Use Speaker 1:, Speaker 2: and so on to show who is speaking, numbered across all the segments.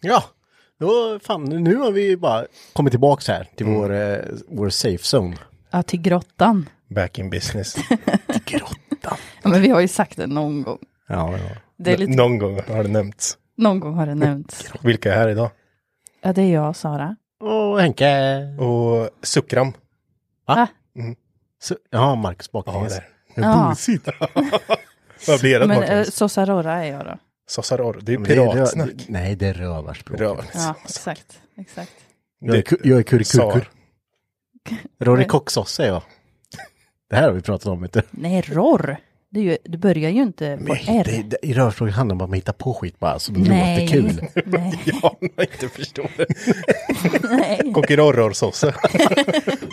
Speaker 1: Ja, då, fan, nu har vi ju bara kommit tillbaks här till vår, eh, vår safe zone.
Speaker 2: Ja, till grottan.
Speaker 3: Back in business.
Speaker 1: Grotta.
Speaker 2: Ja, men vi har ju sagt det någon gång.
Speaker 1: Ja, ja.
Speaker 2: Det är lite,
Speaker 3: Någon gång har det nämnts.
Speaker 2: någon gång har det nämnts.
Speaker 3: Vilka är här idag?
Speaker 2: Ja, det är jag och Sara.
Speaker 1: Och Henke.
Speaker 3: Och Sukram.
Speaker 1: Så, ja, Marcus baklänges.
Speaker 3: Ja, där.
Speaker 2: Ja,
Speaker 3: Vad blir det?
Speaker 2: men eh,
Speaker 3: baklänges?
Speaker 2: Sosa Rora är jag då.
Speaker 3: Sossaror. Det är ju
Speaker 1: Men det är rö-
Speaker 3: piratsnack.
Speaker 1: det- Nej, det är rövarspråk.
Speaker 3: Rövarspråk.
Speaker 2: Ja, exakt. exakt.
Speaker 1: Jag är, ku- jag är kurrekurkur. Rorikocksosse är jag. Det här har vi pratat om, inte?
Speaker 2: Nej, Ror. Det, är ju, det börjar ju inte på
Speaker 1: Nej,
Speaker 2: R.
Speaker 1: det, det, I rörspråket handlar det bara om att hitta på skit bara, så det
Speaker 2: Nej.
Speaker 1: låter kul.
Speaker 2: Nej.
Speaker 3: Ja, om jag inte förstår det.
Speaker 2: Nej.
Speaker 3: Kokirorrorsosse.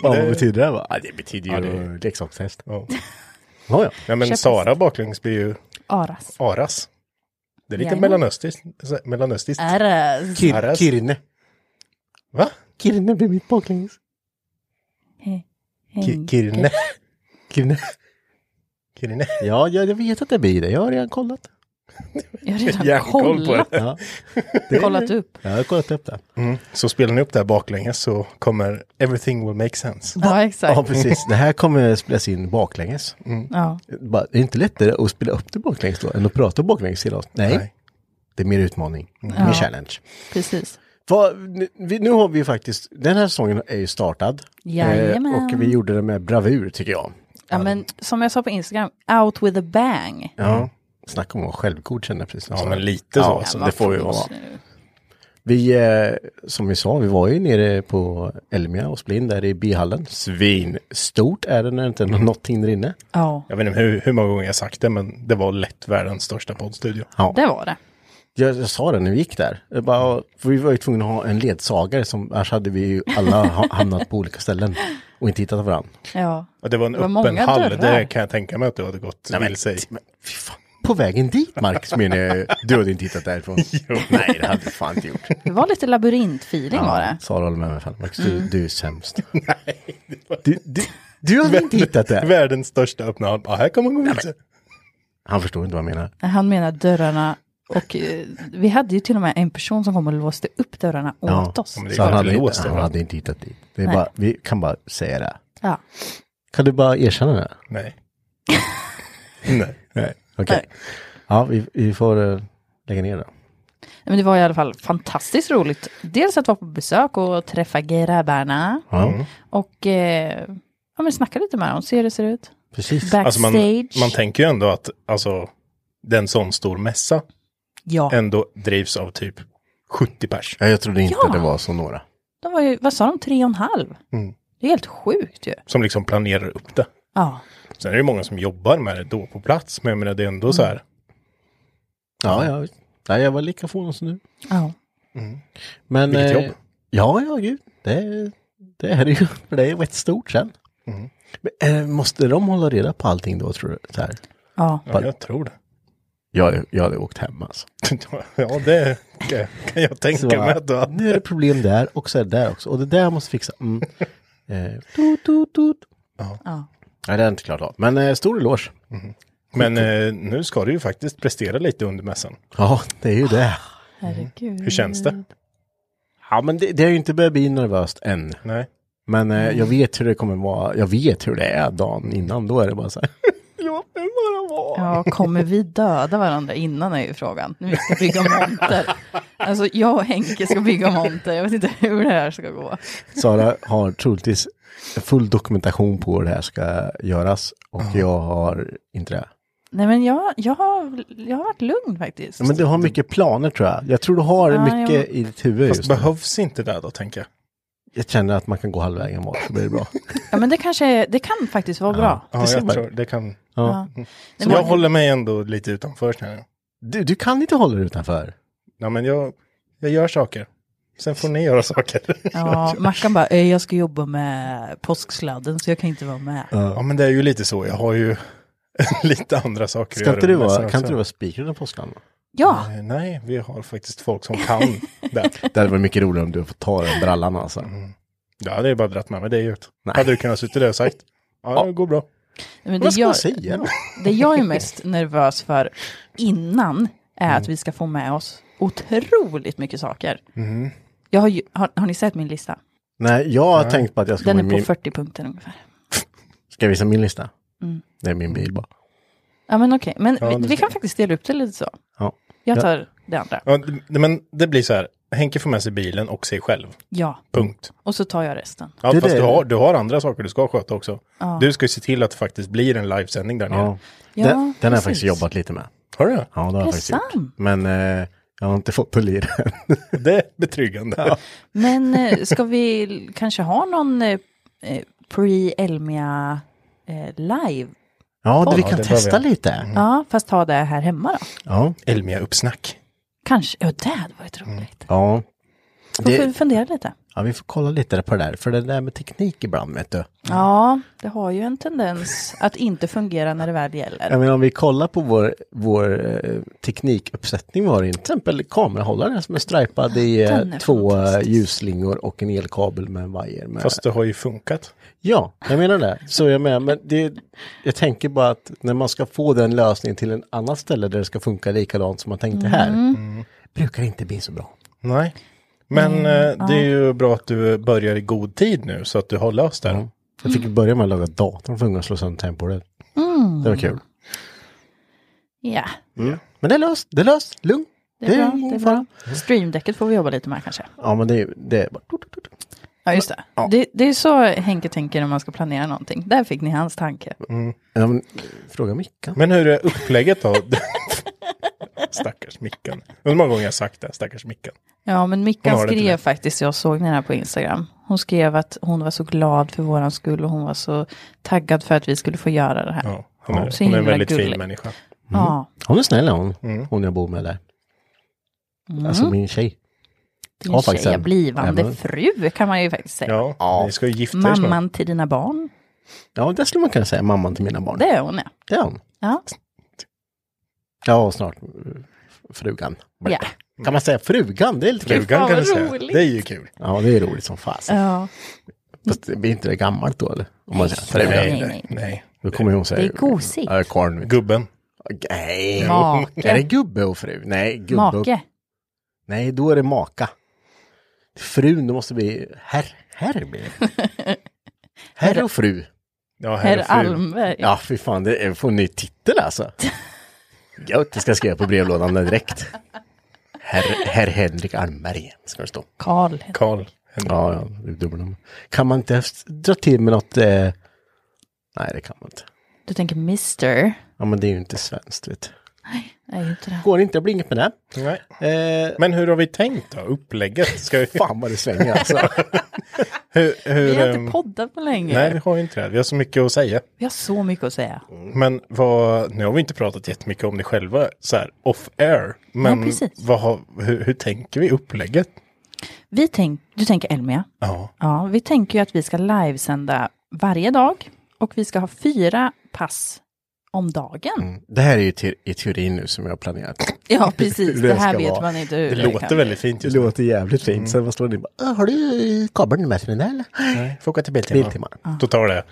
Speaker 1: Bara, vad betyder det? här, va? Ja, det betyder ju
Speaker 3: Ja, det-
Speaker 1: leksakshäst.
Speaker 3: Ja.
Speaker 1: Ja, ja.
Speaker 3: Nej, men
Speaker 2: Köp
Speaker 3: Sara baklänges blir ju
Speaker 2: Aras.
Speaker 3: Aras. Det är lite
Speaker 2: Jajamän.
Speaker 3: mellanöstiskt. mellanöstiskt.
Speaker 2: Aras.
Speaker 1: Kir,
Speaker 3: Arras.
Speaker 1: Kirne.
Speaker 3: Va?
Speaker 1: Kirne blir mitt baklänges.
Speaker 3: Ki-
Speaker 2: Henk.
Speaker 3: Kirne.
Speaker 1: Kirne.
Speaker 3: Kirne.
Speaker 1: Ja, ja, jag vet att det blir det. Jag har redan kollat.
Speaker 2: Jag har redan
Speaker 3: Järnkoll på
Speaker 2: kollat,
Speaker 3: det.
Speaker 1: Ja. Det är-
Speaker 2: kollat upp.
Speaker 1: Ja, jag har kollat upp det. Alltså,
Speaker 3: Mm. Så spelar ni upp det här baklänges så kommer everything will make sense.
Speaker 2: Ja,
Speaker 1: Ja,
Speaker 2: exakt.
Speaker 1: precis. Det här kommer spelas in baklänges.
Speaker 2: Ja.
Speaker 1: Bara, Det är inte lättare att spela upp det baklänges då än att prata baklänges hela Nej.
Speaker 3: Nej.
Speaker 1: Det är mer utmaning, mer
Speaker 2: Ja.
Speaker 1: challenge.
Speaker 2: Precis.
Speaker 1: Vad- nu, vi, nu har vi ju faktiskt, den här säsongen är ju startad. Eh,
Speaker 2: Jajamän.
Speaker 1: och vi gjorde det med bravur tycker jag.
Speaker 2: Ja, men som jag sa på Instagram, out with a bang.
Speaker 1: Ja. Snacka om att vara självgod känner jag precis.
Speaker 3: Ja, men lite så.
Speaker 1: så
Speaker 3: alltså.
Speaker 1: det får vi
Speaker 2: Vad
Speaker 1: vara.
Speaker 2: fan nu?
Speaker 1: Vi, eh, som vi sa, vi var ju nere på Elmia och Splin där i bihallen. Svinstort är det när det inte är något hinder inne.
Speaker 2: Ja,
Speaker 3: Jag vet inte hur, hur många gånger jag sagt det, men det var lätt världens största poddstudio.
Speaker 2: det var det.
Speaker 1: Jag, jag sa det när vi gick där. Jag bara, för vi var ju tvungna att ha en ledsagare som, annars hade vi ju alla ha- hamnat på olika ställen och inte hittat varandra.
Speaker 2: Ja.
Speaker 3: Och det var en
Speaker 2: Det var
Speaker 3: öppen
Speaker 2: många
Speaker 3: hall,
Speaker 2: dörrar.
Speaker 3: det kan jag tänka mig att du hade gått vilse i.
Speaker 1: men fy fan. På vägen dit, Marcus, menar jag Du hade inte hittat därifrån. Nej, det hade du fan inte gjort.
Speaker 2: Det var lite labyrintfeeling var det.
Speaker 1: Sara håller med mig. Fan. Marcus, du, du är sämst. Nej. Du, du, du hade inte hittat det.
Speaker 3: Världens största öppna hall. Ja, här kan man gå vilse.
Speaker 1: Han förstår inte vad jag menar.
Speaker 2: Nej, Han menar dörrarna och eh, vi hade ju till och med en person som kom och låste upp dörrarna åt oss.
Speaker 3: men det är
Speaker 1: Så han,
Speaker 3: klart
Speaker 1: hade
Speaker 3: det
Speaker 1: inte,
Speaker 3: låst
Speaker 1: han
Speaker 3: överallt.
Speaker 1: hade inte hittat dit. Det är
Speaker 2: Nej.
Speaker 1: bara, vi kan bara säga det.
Speaker 2: Ja.
Speaker 1: Kan du bara erkänna det?
Speaker 3: Nej. Nej.
Speaker 1: Nej. Okej. Ja, vi, vi får eh, lägga ner det.
Speaker 2: Men det var i alla fall fantastiskt roligt. Dels att vara på besök och träffa grabbarna
Speaker 1: Ja,
Speaker 2: och eh, ja, men snacka lite med dem, se hur det ser ut.
Speaker 1: precis.
Speaker 2: Backstage.
Speaker 3: Alltså man, man tänker ju ändå att alltså, den sån stor mässa
Speaker 2: ja,
Speaker 3: ändå drivs av typ 70 pers.
Speaker 1: Ja, jag trodde inte
Speaker 2: Ja.
Speaker 1: det var så några.
Speaker 2: de var ju, vad sa de, tre och en halv?
Speaker 3: Mm.
Speaker 2: Det är helt sjukt ju.
Speaker 3: Som liksom planerar upp det.
Speaker 2: Ja,
Speaker 3: Sen är det ju många som jobbar med det då på plats, men jag menar det är ändå så här.
Speaker 1: Ja, ja. Nej, jag var lika förvånad som du.
Speaker 2: ja.
Speaker 3: Mm.
Speaker 1: Men,
Speaker 3: Vilket
Speaker 1: eh,
Speaker 3: jobb.
Speaker 1: Ja, ja, gud. Det, det är det ju. För det är rätt stort sen. Men, eh, måste de hålla reda på allting då, tror du? Så här.
Speaker 2: Ja.
Speaker 3: Ja,
Speaker 1: Mm.
Speaker 3: jag tror det.
Speaker 1: Jag, jag hade åkt hem alltså.
Speaker 3: Ja, det kan- kan jag
Speaker 1: Så,
Speaker 3: tänka mig att du
Speaker 1: nu är det
Speaker 3: hade.
Speaker 1: problem där och så är det där också. Och det där måste fixa. Mm. Eh, tut, tut, tut.
Speaker 2: Ja.
Speaker 1: Nej, det är inte klart av. Men eh, stor eloge.
Speaker 3: Men eh, nu ska du ju faktiskt prestera lite under mässan. Ah.
Speaker 1: Ja, det är ju det.
Speaker 2: Herregud.
Speaker 3: Hur känns det?
Speaker 1: Ja, men det, det har ju inte börjat bli nervöst än.
Speaker 3: Nej.
Speaker 1: Men eh, jag vet hur det kommer vara. Jag vet hur det är dagen innan. Då är det bara så här. jag vill bara vara.
Speaker 2: Ja, kommer vi döda varandra innan är ju frågan. Nu ska vi bygga monter. Alltså jag och Henke ska bygga monter. Jag vet inte hur det här ska gå.
Speaker 1: Sara har troligtvis full dokumentation på hur det här ska göras. Och jag har inte det.
Speaker 2: Nej men jag, jag, har, jag har varit lugn faktiskt.
Speaker 1: Ja, Men du har mycket planer tror jag. Jag tror du har
Speaker 2: Ja,
Speaker 1: mycket
Speaker 2: jo.
Speaker 1: i ditt huvud
Speaker 3: Fast
Speaker 1: just nu.
Speaker 3: behövs inte det då, tänker jag.
Speaker 1: Jag känner att man kan gå halvvägen bort så blir det bra.
Speaker 2: Ja men det kanske är, det kan faktiskt vara bra.
Speaker 3: Ja,
Speaker 1: Det ser
Speaker 3: jag
Speaker 1: man.
Speaker 3: tror det kan.
Speaker 2: Ja.
Speaker 3: Så jag håller mig ändå lite utanför, känner jag.
Speaker 1: Du, du kan inte hålla dig utanför.
Speaker 3: Ja, men jag, jag gör saker. Sen får ni göra saker.
Speaker 2: Ja, Mackan bara, "Eh, jag ska jobba med påsksladden så jag kan inte vara med.
Speaker 3: Ja, men det är ju lite så. Jag har ju lite andra saker
Speaker 1: Ska inte du
Speaker 3: under
Speaker 1: vara,
Speaker 3: mässan
Speaker 1: kan inte
Speaker 3: också.
Speaker 1: du vara speaker under påskland?
Speaker 2: Ja,
Speaker 3: Eh, Nej, vi har faktiskt folk som kan det.
Speaker 1: Det hade varit mycket roligare om du fått ta den brallan alltså.
Speaker 3: Ja, det är bara dratt med mig det ut. Hade du kunnat sitta där och sagt. Ja, det går bra.
Speaker 2: men det
Speaker 1: Vad ska
Speaker 2: jag,
Speaker 1: man säga då?
Speaker 2: det jag är mest nervös för innan är
Speaker 1: Mm.
Speaker 2: att vi ska få med oss otroligt mycket saker.
Speaker 1: Mm.
Speaker 2: Jag har, ju, har, har ni sett min lista?
Speaker 1: Nej, jag har tänkt på att jag ska,
Speaker 2: Den
Speaker 1: med
Speaker 2: är på
Speaker 1: min,
Speaker 2: 40 punkter ungefär.
Speaker 1: ska jag visa min lista.
Speaker 2: Mm.
Speaker 1: Det är min bil bara.
Speaker 2: Ja men okej, men
Speaker 3: Ja,
Speaker 2: vi,
Speaker 3: det
Speaker 2: vi
Speaker 3: ska-
Speaker 2: kan faktiskt dela upp det lite så.
Speaker 1: Ja.
Speaker 2: Jag tar det andra.
Speaker 3: Ja, d- men det blir så här. Henke får med sig bilen och sig själv.
Speaker 2: Ja,
Speaker 3: Punkt.
Speaker 2: och så tar jag resten.
Speaker 3: Ja,
Speaker 1: Det är
Speaker 3: fast
Speaker 1: det.
Speaker 3: du har, du har andra saker du ska sköta också. Du ska ju se till att det faktiskt blir en livesändning där nere.
Speaker 1: Ja.
Speaker 2: Ja,
Speaker 1: den, den har jag
Speaker 2: precis.
Speaker 1: faktiskt jobbat lite med.
Speaker 3: Har du det?
Speaker 1: Ja, det har
Speaker 2: Är det
Speaker 1: jag faktiskt gjort.
Speaker 2: sant?
Speaker 1: Men eh, jag har inte fått pulli den.
Speaker 3: Det är betryggande.
Speaker 2: Men eh, ska vi l- kanske ha någon eh, eh, pre-Elmia eh, live?
Speaker 1: Ja, det, Mm. vi
Speaker 3: Ja,
Speaker 1: kan
Speaker 3: det
Speaker 1: testa
Speaker 3: behöver jag.
Speaker 1: lite.
Speaker 2: Ja, fast ha det här hemma då.
Speaker 1: Ja.
Speaker 3: Elmia-uppsnack.
Speaker 2: Kanske, ja det hade varit roligt.
Speaker 1: Ja.
Speaker 2: Då
Speaker 1: Det-
Speaker 2: får vi fundera lite.
Speaker 1: ja, vi får kolla lite på det där. För det där med teknik ibland, vet du.
Speaker 2: Ja, det har ju en tendens att inte fungera när det väl gäller.
Speaker 1: Jag menar, om vi kollar på vår, vår eh, teknikuppsättning vi har, till exempel kamerahållaren som är stripad i
Speaker 2: Den
Speaker 1: eh,
Speaker 2: är
Speaker 1: två eh,
Speaker 2: fantastisk.
Speaker 1: ljusslingor och en elkabel med en vajer. Med...
Speaker 3: Fast det har ju funkat.
Speaker 1: Ja, jag menar det. Så jag menar, men det, jag tänker bara att när man ska få den lösningen till en annan ställe där det ska funka likadant som man tänkte här,
Speaker 2: Mm.
Speaker 1: brukar det inte bli så bra.
Speaker 3: Nej. Men eh, det är ju bra att du börjar i god tid nu så att du har löst det. här.
Speaker 1: Jag fick
Speaker 2: Mm.
Speaker 1: börja med att laga datorn för att kunna slå sönder temporärt. Det var kul.
Speaker 2: Ja,
Speaker 1: Men det är löst, det är löst, lugn.
Speaker 2: det är bra.
Speaker 1: ingen
Speaker 2: Det är
Speaker 1: fara.
Speaker 2: bra. Streamdäcket får vi jobba lite med kanske.
Speaker 1: Ja, men det är, det är bara...
Speaker 2: Ja, just det. det. Det är så Henke tänker när man ska planera någonting. Där fick ni hans tanke.
Speaker 1: Ja, men, eh, fråga Mickan.
Speaker 3: Men hur är upplägget då? stackars Mickan. Undrar hur många gånger jag har sagt det, stackars Mickan.
Speaker 2: Ja, men Mickan
Speaker 3: Hon har det till
Speaker 2: skrev
Speaker 3: det.
Speaker 2: faktiskt, jag såg den här på Instagram. Hon skrev att hon var så glad för våran skull och hon var så taggad för att vi skulle få göra det här.
Speaker 3: Ja, hon är,
Speaker 2: så
Speaker 3: hon är en
Speaker 2: himla
Speaker 3: väldigt
Speaker 2: gullig.
Speaker 3: fin människa. Mm.
Speaker 2: Ja,
Speaker 1: Hon är snäll hon, hon jag bor med där. Alltså min tjej.
Speaker 2: Mm. din
Speaker 1: Ja, faktiskt
Speaker 2: tjej är
Speaker 1: en-
Speaker 2: blivande
Speaker 1: även-
Speaker 2: fru kan man ju faktiskt säga.
Speaker 3: Ja, ni ska ju gifta er snart.
Speaker 2: Mamman till dina barn,
Speaker 1: Ja, det skulle man kunna säga, mamman till mina barn.
Speaker 2: det är hon ja.
Speaker 1: Det är hon.
Speaker 2: Ja,
Speaker 1: Ja, och snart eh, frugan.
Speaker 2: ja.
Speaker 1: Kan man säga frugan? Det är lite kul.
Speaker 3: Frugan kan
Speaker 2: vad
Speaker 3: du säga.
Speaker 2: roligt.
Speaker 3: Det är ju kul.
Speaker 1: Ja, det är roligt som fasen.
Speaker 2: ja.
Speaker 1: Fast det blir inte det gammalt då eller? Om man säger frugan.
Speaker 2: Nej,
Speaker 3: Nej,
Speaker 2: nej,
Speaker 3: nej,
Speaker 2: nej.
Speaker 1: Då kommer hon säga...
Speaker 2: Det är gosigt.
Speaker 1: Ja, korn.
Speaker 3: Gubben.
Speaker 1: Nej.
Speaker 2: Make.
Speaker 1: Är det gubbe och fru? Nej, gubbe och...
Speaker 2: Make.
Speaker 1: Nej, då är det maka. Frun, det måste bli herr. Herr blir det. Herr och fru.
Speaker 3: Ja,
Speaker 2: Herr
Speaker 3: herr och fru.
Speaker 2: Almberg.
Speaker 1: Ja, fy fan, det är, får en ny titel alltså. Gött, det ska jag skriva på brevlådan där direkt. Herr, herr Henrik Almberg ska det stå.
Speaker 2: Karl.
Speaker 3: Karl.
Speaker 1: Ja, ja, det är dubbelnamn. Kan man inte s- dra till med något? Eh... Nej, det kan man inte.
Speaker 2: Du tänker Mr.
Speaker 1: Ja, men det är ju inte svenskt, vet du.
Speaker 2: Nej, inte det.
Speaker 1: Går inte, det blir inget med det.
Speaker 3: Nej.
Speaker 1: Eh,
Speaker 3: Men hur har vi tänkt då? Upplägget? Ska vi...
Speaker 1: fan vad det svänger alltså.
Speaker 3: hur, hur,
Speaker 2: Vi har
Speaker 3: ehm,
Speaker 2: inte poddat på länge.
Speaker 3: Nej, vi har ju inte det. Vi har så mycket att säga.
Speaker 2: Vi har så mycket att säga.
Speaker 3: Men vad, nu har vi inte pratat jättemycket om det själva så här off air. Men
Speaker 2: Nej, precis.
Speaker 3: vad har, hur, hur tänker vi upplägget?
Speaker 2: Vi tänk, du tänker Elmia.
Speaker 3: Ja.
Speaker 2: Ja, vi tänker ju att vi ska livesända varje dag och vi ska ha fyra pass om dagen.
Speaker 1: Det här är ju te- i teorin nu som jag har planerat.
Speaker 2: Ja, precis.
Speaker 1: Det
Speaker 2: Det här
Speaker 1: ska
Speaker 2: vet
Speaker 1: vara-
Speaker 2: man inte hur
Speaker 3: Det låter
Speaker 2: kan
Speaker 3: väldigt fint
Speaker 1: Det Mm.
Speaker 3: just nu.
Speaker 1: låter jävligt fint. Sen vad står det? Bara, "Äh, Har du kabeln med dig eller? Nej, får åka till Biltema. Biltema.
Speaker 3: Då tar det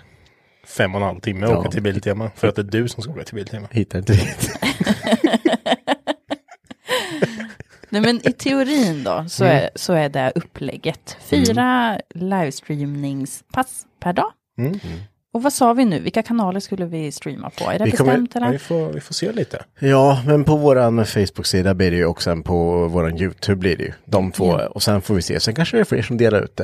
Speaker 3: fem och en halv timme att
Speaker 1: Ja.
Speaker 3: åka till Biltema. För att det är du som ska åka till Biltema.
Speaker 1: Hittar inte dit.
Speaker 2: Nej, men i teorin då så är, så är det upplägget. Fyra livestreamningspass per dag. Och vad sa vi nu? Vilka kanaler skulle vi streama på? Är det
Speaker 1: Vi kommer-
Speaker 2: bestämt
Speaker 3: Ja, Mm.
Speaker 2: eller?
Speaker 3: vi, får, vi får se lite.
Speaker 1: Ja, men på våran Facebook-sida blir det ju och sen på våran YouTube blir det ju. De två. Och sen får vi se. Sen kanske det är fler som delar ut det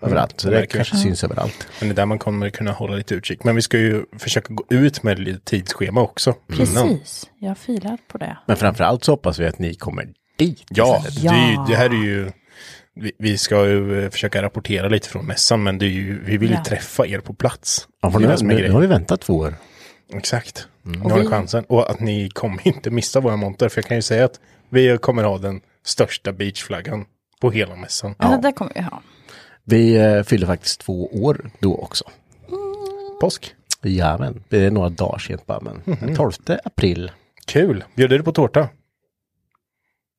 Speaker 1: överallt. Så
Speaker 3: det
Speaker 1: det,
Speaker 3: verkar
Speaker 1: kanske syns överallt.
Speaker 3: Men det är där man kommer kunna hålla lite utkik. Men vi ska ju försöka gå ut med lite tidsschema också. innan.
Speaker 2: Precis, jag filar på det.
Speaker 1: Men framförallt så hoppas vi att ni kommer dit.
Speaker 3: Ja, det, är
Speaker 2: Ja.
Speaker 3: ju, det här är ju... Vi, vi ska ju eh, försöka rapportera lite från mässan, men det är ju, vi vill ju
Speaker 2: Ja.
Speaker 3: träffa er på plats.
Speaker 1: Ja, för
Speaker 3: Det är
Speaker 1: nu,
Speaker 3: det som
Speaker 1: nu,
Speaker 3: är
Speaker 1: Mm. nu
Speaker 3: grejen.
Speaker 1: har vi väntat två år.
Speaker 3: Exakt. Nu har ni chansen. Och att ni kommer inte missa våra monter. För jag kan ju säga att vi kommer ha den största beachflaggan på hela mässan.
Speaker 2: Ja. Alltså, det kommer vi ha.
Speaker 1: Vi eh, fyller faktiskt två år då också.
Speaker 3: Påsk.
Speaker 1: Jajamän, det är några dagar sent bara, men den 12 april.
Speaker 3: Kul. Bjöd du på tårta?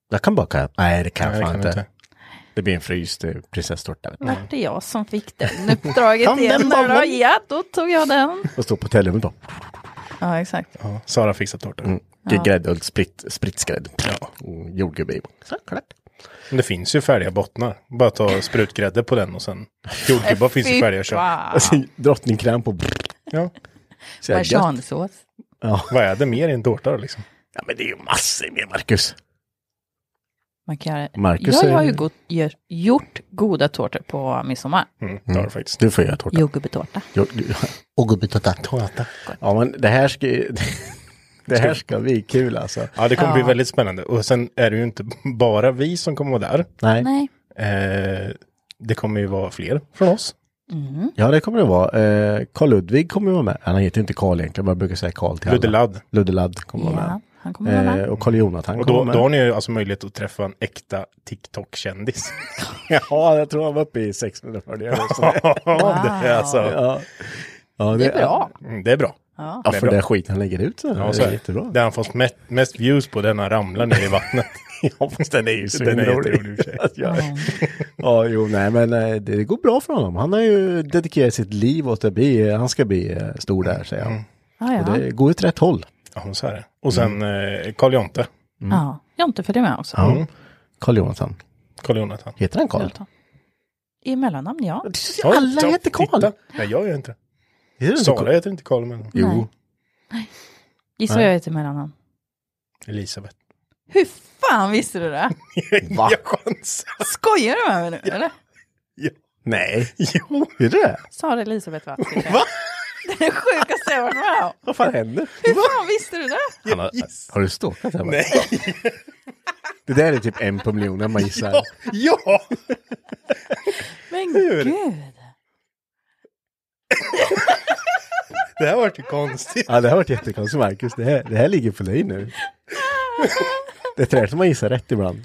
Speaker 1: Jag kan baka. Nej, det kan jag
Speaker 3: Nej, det
Speaker 1: fan
Speaker 3: kan
Speaker 1: inte.
Speaker 3: du inte.
Speaker 1: Det blir en fryst eh, prinsesstårta. vet du.
Speaker 2: Vart är jag som fick den uppdraget
Speaker 1: Kan den
Speaker 2: igen?
Speaker 1: vara
Speaker 2: Då?
Speaker 1: bra?
Speaker 2: Ja, då tog jag den.
Speaker 1: Och stå på hotellrummet då. Mm.
Speaker 2: Ja, exakt.
Speaker 3: Ja, Sara fixar tårta.
Speaker 1: Ja. Grädde och sprit, spritsgrädde. Och jordgubbe i. Så, klart.
Speaker 3: Men det finns ju färdiga bottnar. Bara ta sprutgrädde på den och sen jordgubbar finns ju färdiga att köpa.
Speaker 1: Alltså, drottningkräm på.
Speaker 3: Ja.
Speaker 1: Så jävla gött.
Speaker 2: Parmesansås.
Speaker 3: Vad är det mer i en tårta då, liksom?
Speaker 1: Ja, men det är ju massor mer, Marcus.
Speaker 2: Man kan...
Speaker 1: Marcus
Speaker 2: ja, jag har
Speaker 1: är-
Speaker 2: ju god, gör, gjort goda tårtor på midsommar.
Speaker 3: Mm, det har du faktiskt.
Speaker 1: Du får göra tårta.
Speaker 2: Jordgubbetårta.
Speaker 1: Jo- jo- Och gubbetorta. Tårta. Ja, men det här ska ju- Det här ska bli kul alltså.
Speaker 3: Ja, det kommer
Speaker 2: Ja.
Speaker 3: bli väldigt spännande. Och sen är det ju inte bara vi som kommer vara där.
Speaker 1: Nej.
Speaker 2: Nej.
Speaker 3: Eh, det kommer ju vara fler från oss.
Speaker 1: Ja, det kommer det vara. Eh, Carl Ludvig kommer vara med. Han heter inte Carl egentligen, men jag brukar säga Carl till alla.
Speaker 3: Ludde Ladd.
Speaker 1: Ludde Ladd kommer vara med.
Speaker 2: Ja, han kommer vara med.
Speaker 1: Eh, och Carl Jonathan
Speaker 3: Och
Speaker 1: kommer
Speaker 3: då,
Speaker 1: vara
Speaker 3: då
Speaker 1: med.
Speaker 3: har ni ju alltså möjlighet att träffa en äkta TikTok-kändis.
Speaker 1: Ja, jag tror han var uppe i 600 följare.
Speaker 3: Ja, det, är alltså,
Speaker 1: ja. Ja, det,
Speaker 2: Det är bra.
Speaker 3: mm, det är bra.
Speaker 1: Ja,
Speaker 3: Det är
Speaker 1: för
Speaker 3: bra.
Speaker 1: den skit han lägger ut så
Speaker 3: Ja,
Speaker 1: det
Speaker 3: så
Speaker 1: är
Speaker 3: är
Speaker 1: jättebra.
Speaker 3: det. Det han fått mest, mest views på, den han ramlar ner i vattnet.
Speaker 1: Ja, fast den är ju så
Speaker 3: Den är jätterolig i och för sig.
Speaker 1: ja. ja, jo, nej, men eh, det, det går bra för honom. Han har ju dedikerat sitt liv åt att bli, han ska bli eh, stor där, säger han.
Speaker 2: Ja, ja.
Speaker 1: Och det går åt rätt håll.
Speaker 3: Ja, så är det. Och sen
Speaker 1: Mm.
Speaker 3: eh, Carl Jonte.
Speaker 2: ja. Jonte följer med också.
Speaker 1: Ja. Mm. Carl Jonathan.
Speaker 3: Carl Jonathan.
Speaker 1: Heter han Carl?
Speaker 2: I mellannamn, ja.
Speaker 3: Oj,
Speaker 1: Alla
Speaker 3: ja,
Speaker 1: heter Carl.
Speaker 3: titta. Nej, jag gör inte det.
Speaker 1: Heter inte
Speaker 3: Sara
Speaker 1: Carl?
Speaker 3: heter inte Carl, men
Speaker 1: Jo.
Speaker 2: Gissa jag heter mellannamn.
Speaker 3: Elisabeth.
Speaker 2: Hur fan visste du det?
Speaker 1: Va?
Speaker 3: Jag chansar.
Speaker 2: Skojar du med mig nu, eller?
Speaker 1: Nej.
Speaker 3: Jo.
Speaker 1: Är det?
Speaker 2: Sara Elisabeth Watt. Va? Det är det sjukaste jag varit med om.
Speaker 1: Vad fan händer?
Speaker 2: Hur fan visste du det?
Speaker 1: Han har, har du stalkat henne? Nej. Det där är typ en på miljonen man gissar.
Speaker 3: Ja!
Speaker 2: Men gud.
Speaker 3: Det här vart ju konstigt.
Speaker 1: Ja, det har varit jättekonstigt Marcus. Det här, det här ligger på dig nu. Det är trädet man gissar rätt ibland.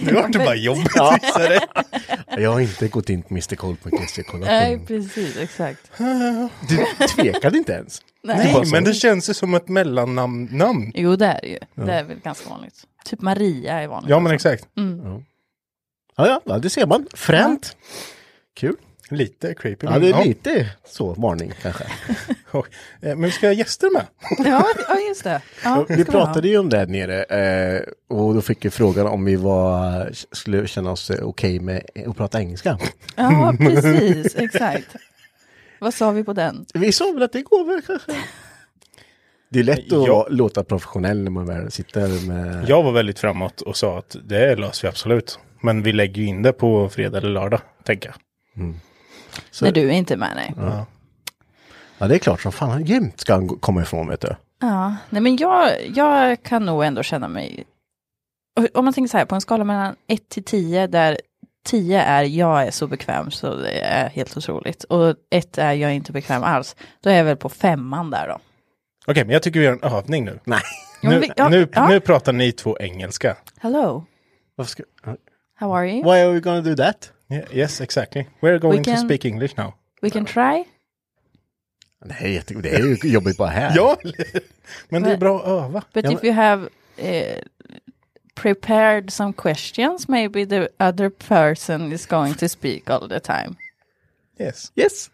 Speaker 3: Nu vart det bara jobbigt. visar det.
Speaker 1: Jag har inte gått in på mrcoll.se och kollat.
Speaker 2: Nej,
Speaker 1: Nej.
Speaker 2: precis, exakt.
Speaker 1: Du tvekade inte ens.
Speaker 2: Nej.
Speaker 3: Men det känns ju som ett mellannamn. namn.
Speaker 2: Jo, det är det ju. Det är väl ganska vanligt. Typ Maria är vanligt.
Speaker 3: Ja, men exakt.
Speaker 2: Mm.
Speaker 1: Ja, ja, ja, det ser man. Fränt. Kul.
Speaker 3: Lite creepy.
Speaker 1: Ja,
Speaker 3: men
Speaker 1: det är lite så varning kanske.
Speaker 3: Och, eh, Men vi ska ha gäster med.
Speaker 2: Ja, ja just det. Ja,
Speaker 1: Vi
Speaker 2: ska ha.
Speaker 1: pratade ju om det här nere eh, och då fick vi frågan om vi var, skulle känna oss eh, okej med att prata engelska.
Speaker 2: Ja, precis, exakt. Vad sa vi på den?
Speaker 1: Vi sa väl att det går väl kanske. Det är lätt att
Speaker 3: Ja.
Speaker 1: låta professionell när man väl sitter med...
Speaker 3: Jag var väldigt framåt och sa att det löser vi absolut. Men vi lägger ju in det på fredag eller lördag, tänker jag.
Speaker 1: Så-
Speaker 2: När du är inte med, nej. Ja.
Speaker 1: Ja, det är klart som fan. Jämt ska han gå- komma ifrån, vet du.
Speaker 2: Nej, men jag, jag kan nog ändå känna mig... Och Om man tänker så här, på en skala mellan 1 till 10, där 10 är jag är så bekväm så det är helt otroligt. Och 1 är jag inte bekväm alls. Då är jag väl på femman där då.
Speaker 3: Okej, men jag tycker vi gör en övning nu.
Speaker 1: Nej.
Speaker 2: Ja, men
Speaker 3: Nu,
Speaker 2: vi- ja,
Speaker 3: nu,
Speaker 2: ja.
Speaker 3: nu pratar ni två engelska.
Speaker 2: Hello.
Speaker 1: Varför ska...
Speaker 2: How are you?
Speaker 1: Why are we gonna do that?
Speaker 3: Yeah, yes, exactly. We're going to
Speaker 2: can-
Speaker 3: speak English now.
Speaker 2: We can try.
Speaker 1: Nej, jag tycker det är ju jobbigt bara här.
Speaker 3: Ja, men det är bra att öva.
Speaker 2: But if you have eh, prepared some questions, maybe the other person is going to speak all the time.
Speaker 3: Yes.
Speaker 1: Yes.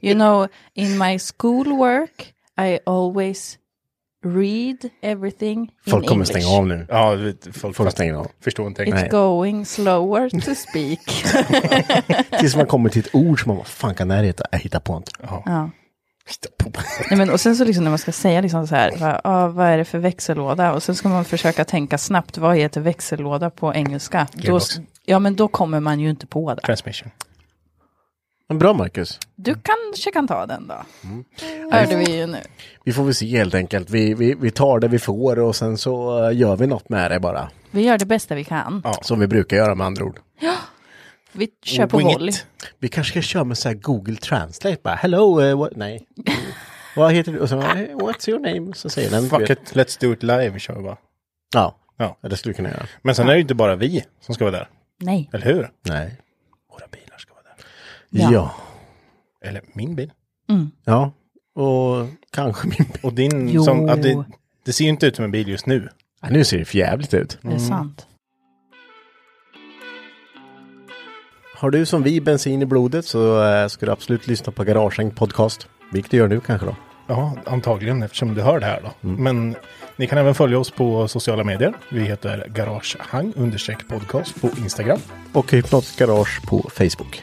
Speaker 2: You know, in my schoolwork, I always read everything
Speaker 1: Folk
Speaker 2: in
Speaker 1: kommer
Speaker 2: English.
Speaker 1: stänga av nu.
Speaker 3: Ja, vi- folk
Speaker 1: Folk
Speaker 3: fatt-
Speaker 1: stänger av.
Speaker 3: förstår inte
Speaker 2: It's
Speaker 3: engelska.
Speaker 2: going slower to speak.
Speaker 1: Tills man kommer till ett ord som man vad fan kan det här heta? Jag hittar på inte.
Speaker 2: ja.
Speaker 1: Hitta på.
Speaker 2: Nej, men, och sen så liksom när man ska säga liksom så här, va, ah, vad är det för växellåda? Och sen ska man försöka tänka snabbt, vad heter växellåda på engelska? Då,
Speaker 3: Gearbox.
Speaker 2: ja, men då kommer man ju inte på det.
Speaker 3: Transmission.
Speaker 1: Men bra Marcus.
Speaker 2: Du kanske kan ta den då.
Speaker 3: Mm.
Speaker 2: Hörde vi ju nu.
Speaker 1: Vi får väl se helt enkelt. Vi, vi, vi tar det vi får och sen så eh, gör vi något med det bara.
Speaker 2: Vi gör det bästa vi kan.
Speaker 1: Som vi brukar göra med andra ord.
Speaker 2: Vi kör på
Speaker 3: Oh, Wing it.
Speaker 2: volley.
Speaker 1: Vi kanske ska köra med så här Google Translate bara. Hello, eh, what? nej. Mm. Vad heter du? Och så, eh, what's your name? Så säger den.
Speaker 3: Fuck
Speaker 1: vet-
Speaker 3: it, let's do it live kör vi bara.
Speaker 1: Ja,
Speaker 3: Ja.
Speaker 1: det skulle vi kunna göra.
Speaker 3: Men sen är det ju inte bara vi som ska vara där,
Speaker 2: Nej.
Speaker 3: eller hur?
Speaker 1: Nej.
Speaker 3: Våra bilar ska vara där.
Speaker 2: Ja.
Speaker 1: Ja.
Speaker 3: Eller min bil.
Speaker 1: Ja. Och kanske min
Speaker 3: Och din
Speaker 2: Jo.
Speaker 3: Mm, som, ja, det, det ser ju inte ut som en bil just nu.
Speaker 1: ja, Nu ser det för jävligt ut.
Speaker 3: mm.
Speaker 2: Det är sant.
Speaker 1: Har du som vi bensin i blodet så eh, ska du absolut lyssna på Garagehäng podcast. Vilket du gör nu kanske då.
Speaker 3: Ja, antagligen eftersom du hör det här då. Men ni kan även följa oss på sociala medier. Vi heter Garagehang understreck podcast på Instagram.
Speaker 1: Och Hypnotic Garage på Facebook.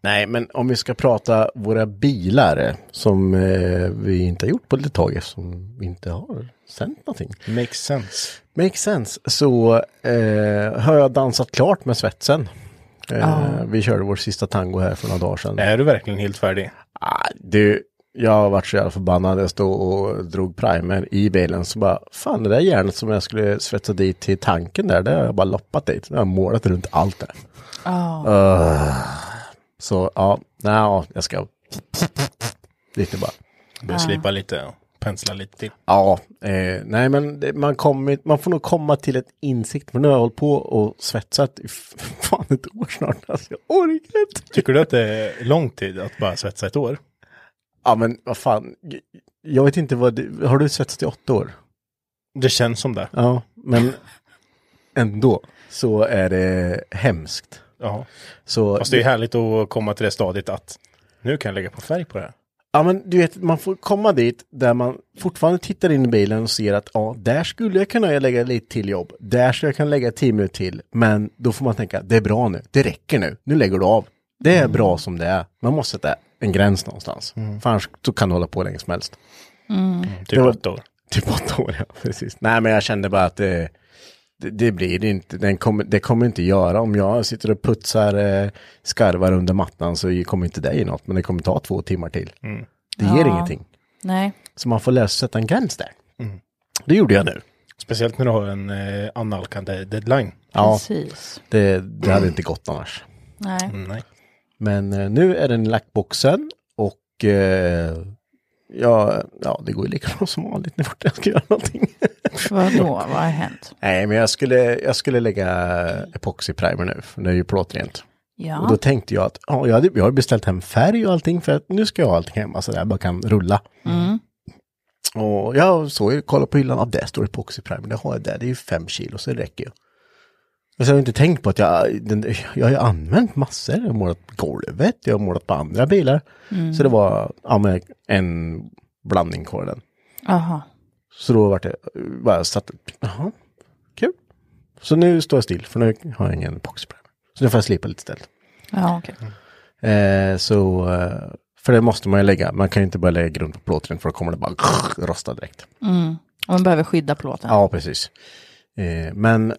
Speaker 1: Nej, men om vi ska prata våra bilar eh, som eh, vi inte har gjort på ett litet tag eftersom vi inte har sänt någonting.
Speaker 3: Makes sense.
Speaker 1: Makes sense. Så eh, har jag dansat klart med svetsen. Eh, Vi körde vår sista tango här för några dagar sedan.
Speaker 3: Är du verkligen helt färdig?
Speaker 1: Eh, Ah, du, jag har varit så jävla förbannad. Jag stod och drog primer i bilen. Så bara, fan det där järnet som jag skulle svetsa dit till tanken där, det har jag bara loppat dit. Jag har målat runt allt där. Ah. så ja, nej, jag ska... Lite bara.
Speaker 3: Du slipar lite och penslar lite till.
Speaker 1: Ja, eh, nej men det, man, kommer, man får nog komma till ett insikt. För nu har jag hållit på och svetsat i f- fan ett år snart. Alltså, jag orkar inte.
Speaker 3: Tycker du att det är lång tid att bara svetsa ett år?
Speaker 1: Ja men vad fan. Jag vet inte vad du, har du svetsat i åtta år?
Speaker 3: Det känns som det.
Speaker 1: Ja, men ändå så är det hemskt.
Speaker 3: Ja.
Speaker 1: Så,
Speaker 3: Fast det är härligt att komma till det stadiet att nu kan jag lägga på färg på det här.
Speaker 1: ja, men du vet, man får komma dit där man fortfarande tittar in i bilen och ser att ja, där skulle jag kunna lägga lite till jobb. Där skulle jag kunna lägga tio minuter till. Men då får man tänka, det är bra nu. Det räcker nu. Nu lägger du av. Det är bra som det är. Man måste sätta en gräns någonstans. För annars så kan du hålla på hur länge som helst.
Speaker 3: Typ
Speaker 1: var-
Speaker 3: åtta år.
Speaker 1: Typ åtta år, ja. Precis. Nej, men jag kände bara att det, det, det blir det inte. Den kommer, det kommer inte göra. Om jag sitter och putsar eh, skarvar under mattan så kommer inte det ge något. Men det kommer ta två timmar till. Det ger ingenting.
Speaker 2: Nej.
Speaker 1: Så man får lösa sätta en gräns där. Det gjorde jag nu.
Speaker 3: Speciellt när du har en eh, annalkande deadline.
Speaker 1: Ja,
Speaker 2: Precis.
Speaker 1: det, det hade inte gått annars.
Speaker 2: Nej.
Speaker 3: Nej.
Speaker 1: Men eh, nu är den i lackboxen och eh, ja, ja, det går ju lika bra som vanligt när jag ska göra någonting.
Speaker 2: Vadå, vad har hänt?
Speaker 1: Nej, men jag skulle, jag skulle lägga epoxyprimer nu, för det är ju plåtrent. Och då
Speaker 2: Ja.
Speaker 1: tänkte jag att ja, jag, hade, jag har beställt hem färg och allting för att nu ska jag ha allting hemma så där jag bara kan rulla. Och jag såg ju, kollade på hyllan, ja, där står epoxyprimer, det har jag där, det är ju fem kilo så det räcker ju. Men sen har jag inte tänkt på att jag, den, jag har ju använt massor, jag har målat golvet, jag har målat på andra bilar. Så det var ja, men en blandning kvar den.
Speaker 2: Jaha.
Speaker 1: Så då vart det, bara satt, jaha, kul. Så nu står jag still, för nu har jag ingen epoxyprimer. Så nu får jag slipa lite istället.
Speaker 2: Ja, okej.
Speaker 1: Eh, så, eh, för det måste man ju lägga. Man kan ju inte bara lägga grund på plåten för då kommer det bara rosta direkt.
Speaker 3: Mm.
Speaker 2: Mm. Och Man behöver skydda plåten.
Speaker 1: Ja, precis. Eh, men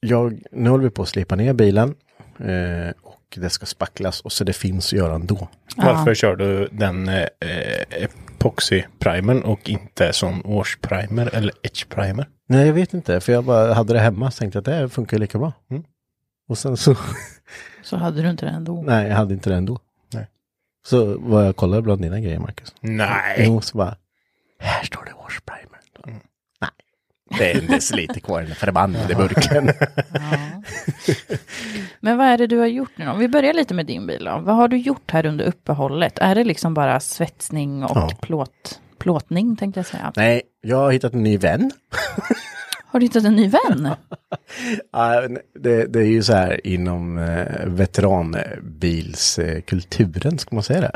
Speaker 1: jag, nu håller vi på att slipa ner bilen eh, och det ska spacklas och så det finns att göra ändå.
Speaker 3: Varför kör du den eh, eh, epoxy-primern och inte som wash-primer eller etch-primer?
Speaker 1: Nej, jag vet inte, för jag bara hade det hemma och tänkte att det här funkar ju lika bra.
Speaker 3: Mm.
Speaker 1: Och sen så,
Speaker 2: Så hade du inte det ändå.
Speaker 1: nej, jag hade inte det ändå.
Speaker 3: Nej.
Speaker 1: Så var jag och kollade bland dina grejer, Marcus.
Speaker 3: Nej.
Speaker 1: Jo, så bara, här står det wash primer. Nej, Mm. Det är en deciliter kvar i den förbannade burken.
Speaker 2: Men vad är det du har gjort nu då? Om vi börjar lite med din bil då. Vad har du gjort här under uppehållet? Är det liksom bara svetsning och
Speaker 1: Ja.
Speaker 2: plåt, plåtning tänkte jag säga?
Speaker 1: Nej, jag har hittat en ny vän.
Speaker 2: Har du hittat en ny vän?
Speaker 1: Ja, det, det är ju så här inom eh, veteranbilskulturen, ska man säga det?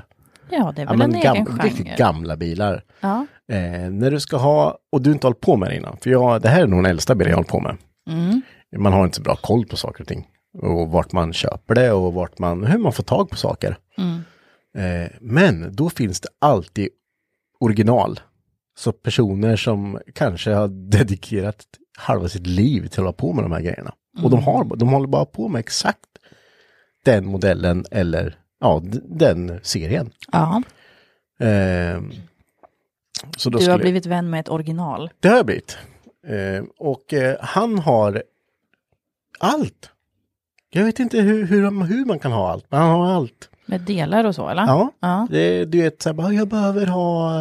Speaker 2: Ja, det är
Speaker 1: Ja,
Speaker 2: väl
Speaker 1: men
Speaker 2: en egen
Speaker 1: gam-
Speaker 2: genre.
Speaker 1: riktigt gamla bilar.
Speaker 2: ja.
Speaker 1: Eh, när du ska ha, och du inte har hållit på med det innan, för jag, det här är nog den äldsta bilen jag har hållit på med.
Speaker 2: Mm.
Speaker 1: Man har inte så bra koll på saker och ting. Och vart man köper det och vart man, hur man får tag på saker.
Speaker 2: Mm.
Speaker 1: Eh, men då finns det alltid original. Så personer som kanske har dedikerat halva sitt liv till att hålla på med de här grejerna. Och
Speaker 2: Mm.
Speaker 1: de, har, de håller bara på med exakt den modellen eller ja, d- den serien.
Speaker 2: ja.
Speaker 1: Eh, så då
Speaker 2: Du har
Speaker 1: skulle-
Speaker 2: blivit vän med ett original.
Speaker 1: det har jag blivit. Eh, och eh, han har allt. Jag vet inte hur, hur, hur man kan ha allt, men han har allt.
Speaker 2: Med delar och så eller?
Speaker 1: Ja,
Speaker 2: Ja.
Speaker 1: Det, du vet, så här, bara, jag behöver ha...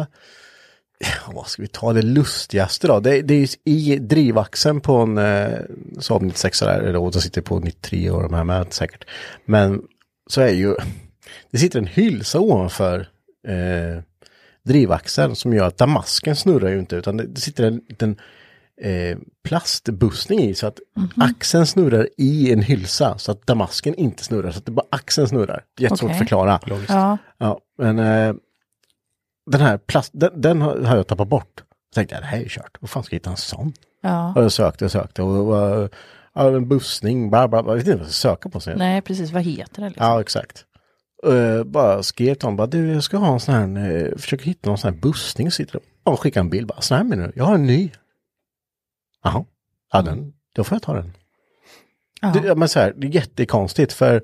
Speaker 1: Ja, vad ska vi ta det lustigaste då? Det, det är ju i drivaxeln på en eh, Saab 96 där, eller och de sitter på 93 och de här med säkert. Men så är ju, det sitter en hylsa ovanför eh, drivaxeln som gör att damasken snurrar ju inte utan det, det sitter en liten eh, plastbussning i så att
Speaker 2: Mhm.
Speaker 1: axeln snurrar i en hylsa så att damasken inte snurrar så att det bara axeln snurrar. Jättesvårt
Speaker 2: Okej.
Speaker 1: att förklara.
Speaker 2: Ja.
Speaker 1: Ja, men eh, den här plast, den, den har har jag tappat bort. Jag tänkte, ja, det här är ju kört. Vad fan ska jag hitta en sån?
Speaker 2: ja.
Speaker 1: Och jag sökte och sökte och eh, ja, en bussning, bla bla bla. Jag vet inte vad jag ska söka på. Sen.
Speaker 2: Nej, precis. Vad heter det? Liksom?
Speaker 1: Ja, exakt. Eh, bara skrev till honom, bara du jag ska ha en sån här, eh, försöker hitta någon sån här bussning. Sitter och skickar en bild, bara så här menar du, jag har en ny. Jaha, ja den, då får jag ta den.
Speaker 2: Ja.
Speaker 1: Det, ja, men så här, det är jättekonstigt för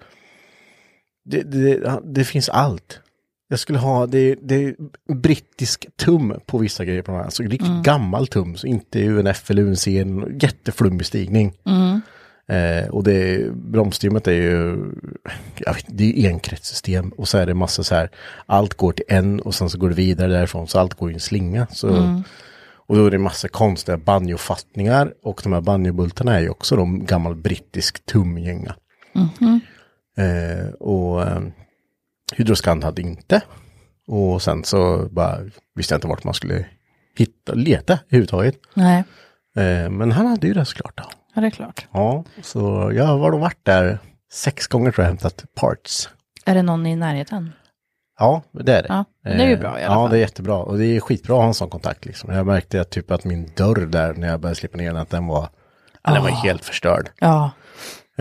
Speaker 1: det, det, det finns allt. Jag skulle ha, det, det är brittisk tum på vissa grejer på den här. Så riktigt gammal tum, så inte UNF eller UNC, en jätteflummig stigning. Eh, och det, bromssystemet är ju, jag vet, det är ju enkretssystem och så är det massa så här, allt går till en och sen så går det vidare därifrån, så allt går i en slinga. Så, Och då är det massa konstiga banjofattningar och de här banjobultarna är ju också de gammal brittisk tumgänga. Eh, och eh, Hydroscan hade inte. Och sen så bara visste jag inte vart man skulle hitta, leta överhuvudtaget.
Speaker 2: Nej,
Speaker 1: Eh, men han hade ju det såklart. Då.
Speaker 2: ja, det är klart.
Speaker 1: Ja, så jag har nog varit där sex gånger tror jag hämtat parts.
Speaker 2: Är det någon i närheten?
Speaker 1: Ja, det är det.
Speaker 2: Ja, men det är ju
Speaker 1: Eh,
Speaker 2: bra i
Speaker 1: Ja,
Speaker 2: alla fall.
Speaker 1: det är jättebra. Och det är skitbra att ha en sån kontakt liksom. Jag märkte att typ att min dörr där när jag började släppa ner den, att den var,
Speaker 2: Ah.
Speaker 1: ja, den var helt förstörd.
Speaker 2: Ja.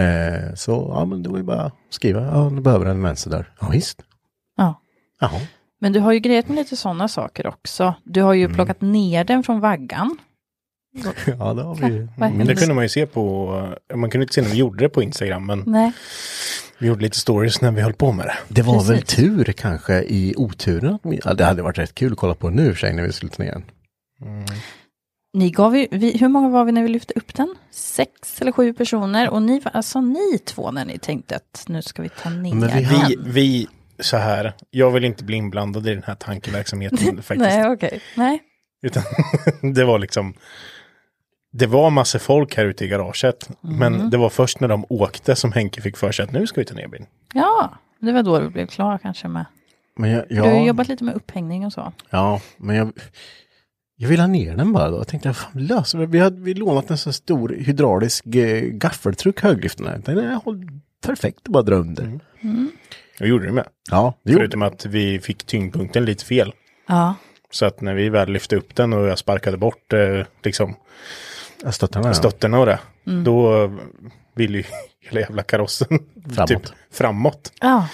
Speaker 1: Eh, så ja, men det var ju bara att skriva, ja, du behöver en vänsterdörr. Ja, visst.
Speaker 2: ja.
Speaker 1: Jaha.
Speaker 2: Men du har ju grejat med lite sådana saker också. Du har ju
Speaker 1: Mm.
Speaker 2: plockat ner den från vaggan.
Speaker 1: Ja, det har vi ju.
Speaker 2: Vad
Speaker 3: Men det
Speaker 2: händer?
Speaker 3: kunde man ju se på, man kunde inte se när vi gjorde det på Instagram, men
Speaker 2: Nej,
Speaker 3: vi gjorde lite stories när vi höll på med det.
Speaker 1: Det var väl
Speaker 2: Precis.
Speaker 1: tur kanske i oturen. att min- Ja, det hade varit rätt kul att kolla på nu i och för sig när vi skulle ta ner den.
Speaker 2: ni gav ju, vi, hur många var vi när vi lyfte upp den? Sex eller sju personer. Och ni var alltså ni två när ni tänkte att nu ska vi ta ner
Speaker 1: Men vi
Speaker 2: den.
Speaker 1: hade-
Speaker 3: Vi, vi, så här, jag vill inte bli inblandad i den här tankeverksamheten faktiskt.
Speaker 2: Nej, okej. Nej.
Speaker 3: Utan det var liksom, det var massor folk här ute i garaget.
Speaker 2: Mm.
Speaker 3: Men det var först när de åkte som Henke fick för sig att nu ska vi ta ner bilen.
Speaker 2: Ja, det var då du blev klar kanske med.
Speaker 1: Men jag,
Speaker 2: Du har ju
Speaker 1: ja,
Speaker 2: jobbat lite med upphängning och så.
Speaker 1: ja, men jag, jag vill ha ner den bara då. Jag tänkte, fan löser vi Vi hade vi lånat en sån stor hydraulisk eh, gaffeltruck höglyften. här. Den är håll- perfekt att bara dra under.
Speaker 3: Och gjorde Mm. det med.
Speaker 1: Ja, det gjorde
Speaker 3: Förutom att vi fick tyngdpunkten lite fel.
Speaker 2: Ja,
Speaker 3: Så att när vi väl lyfte upp den och jag sparkade bort eh, liksom,
Speaker 1: jag. Stöttarna, ja.
Speaker 3: stötterna och det,
Speaker 1: Mm.
Speaker 3: då eh, ville ju hela jävla karossen
Speaker 1: Framåt.
Speaker 3: typ- framåt.
Speaker 2: ja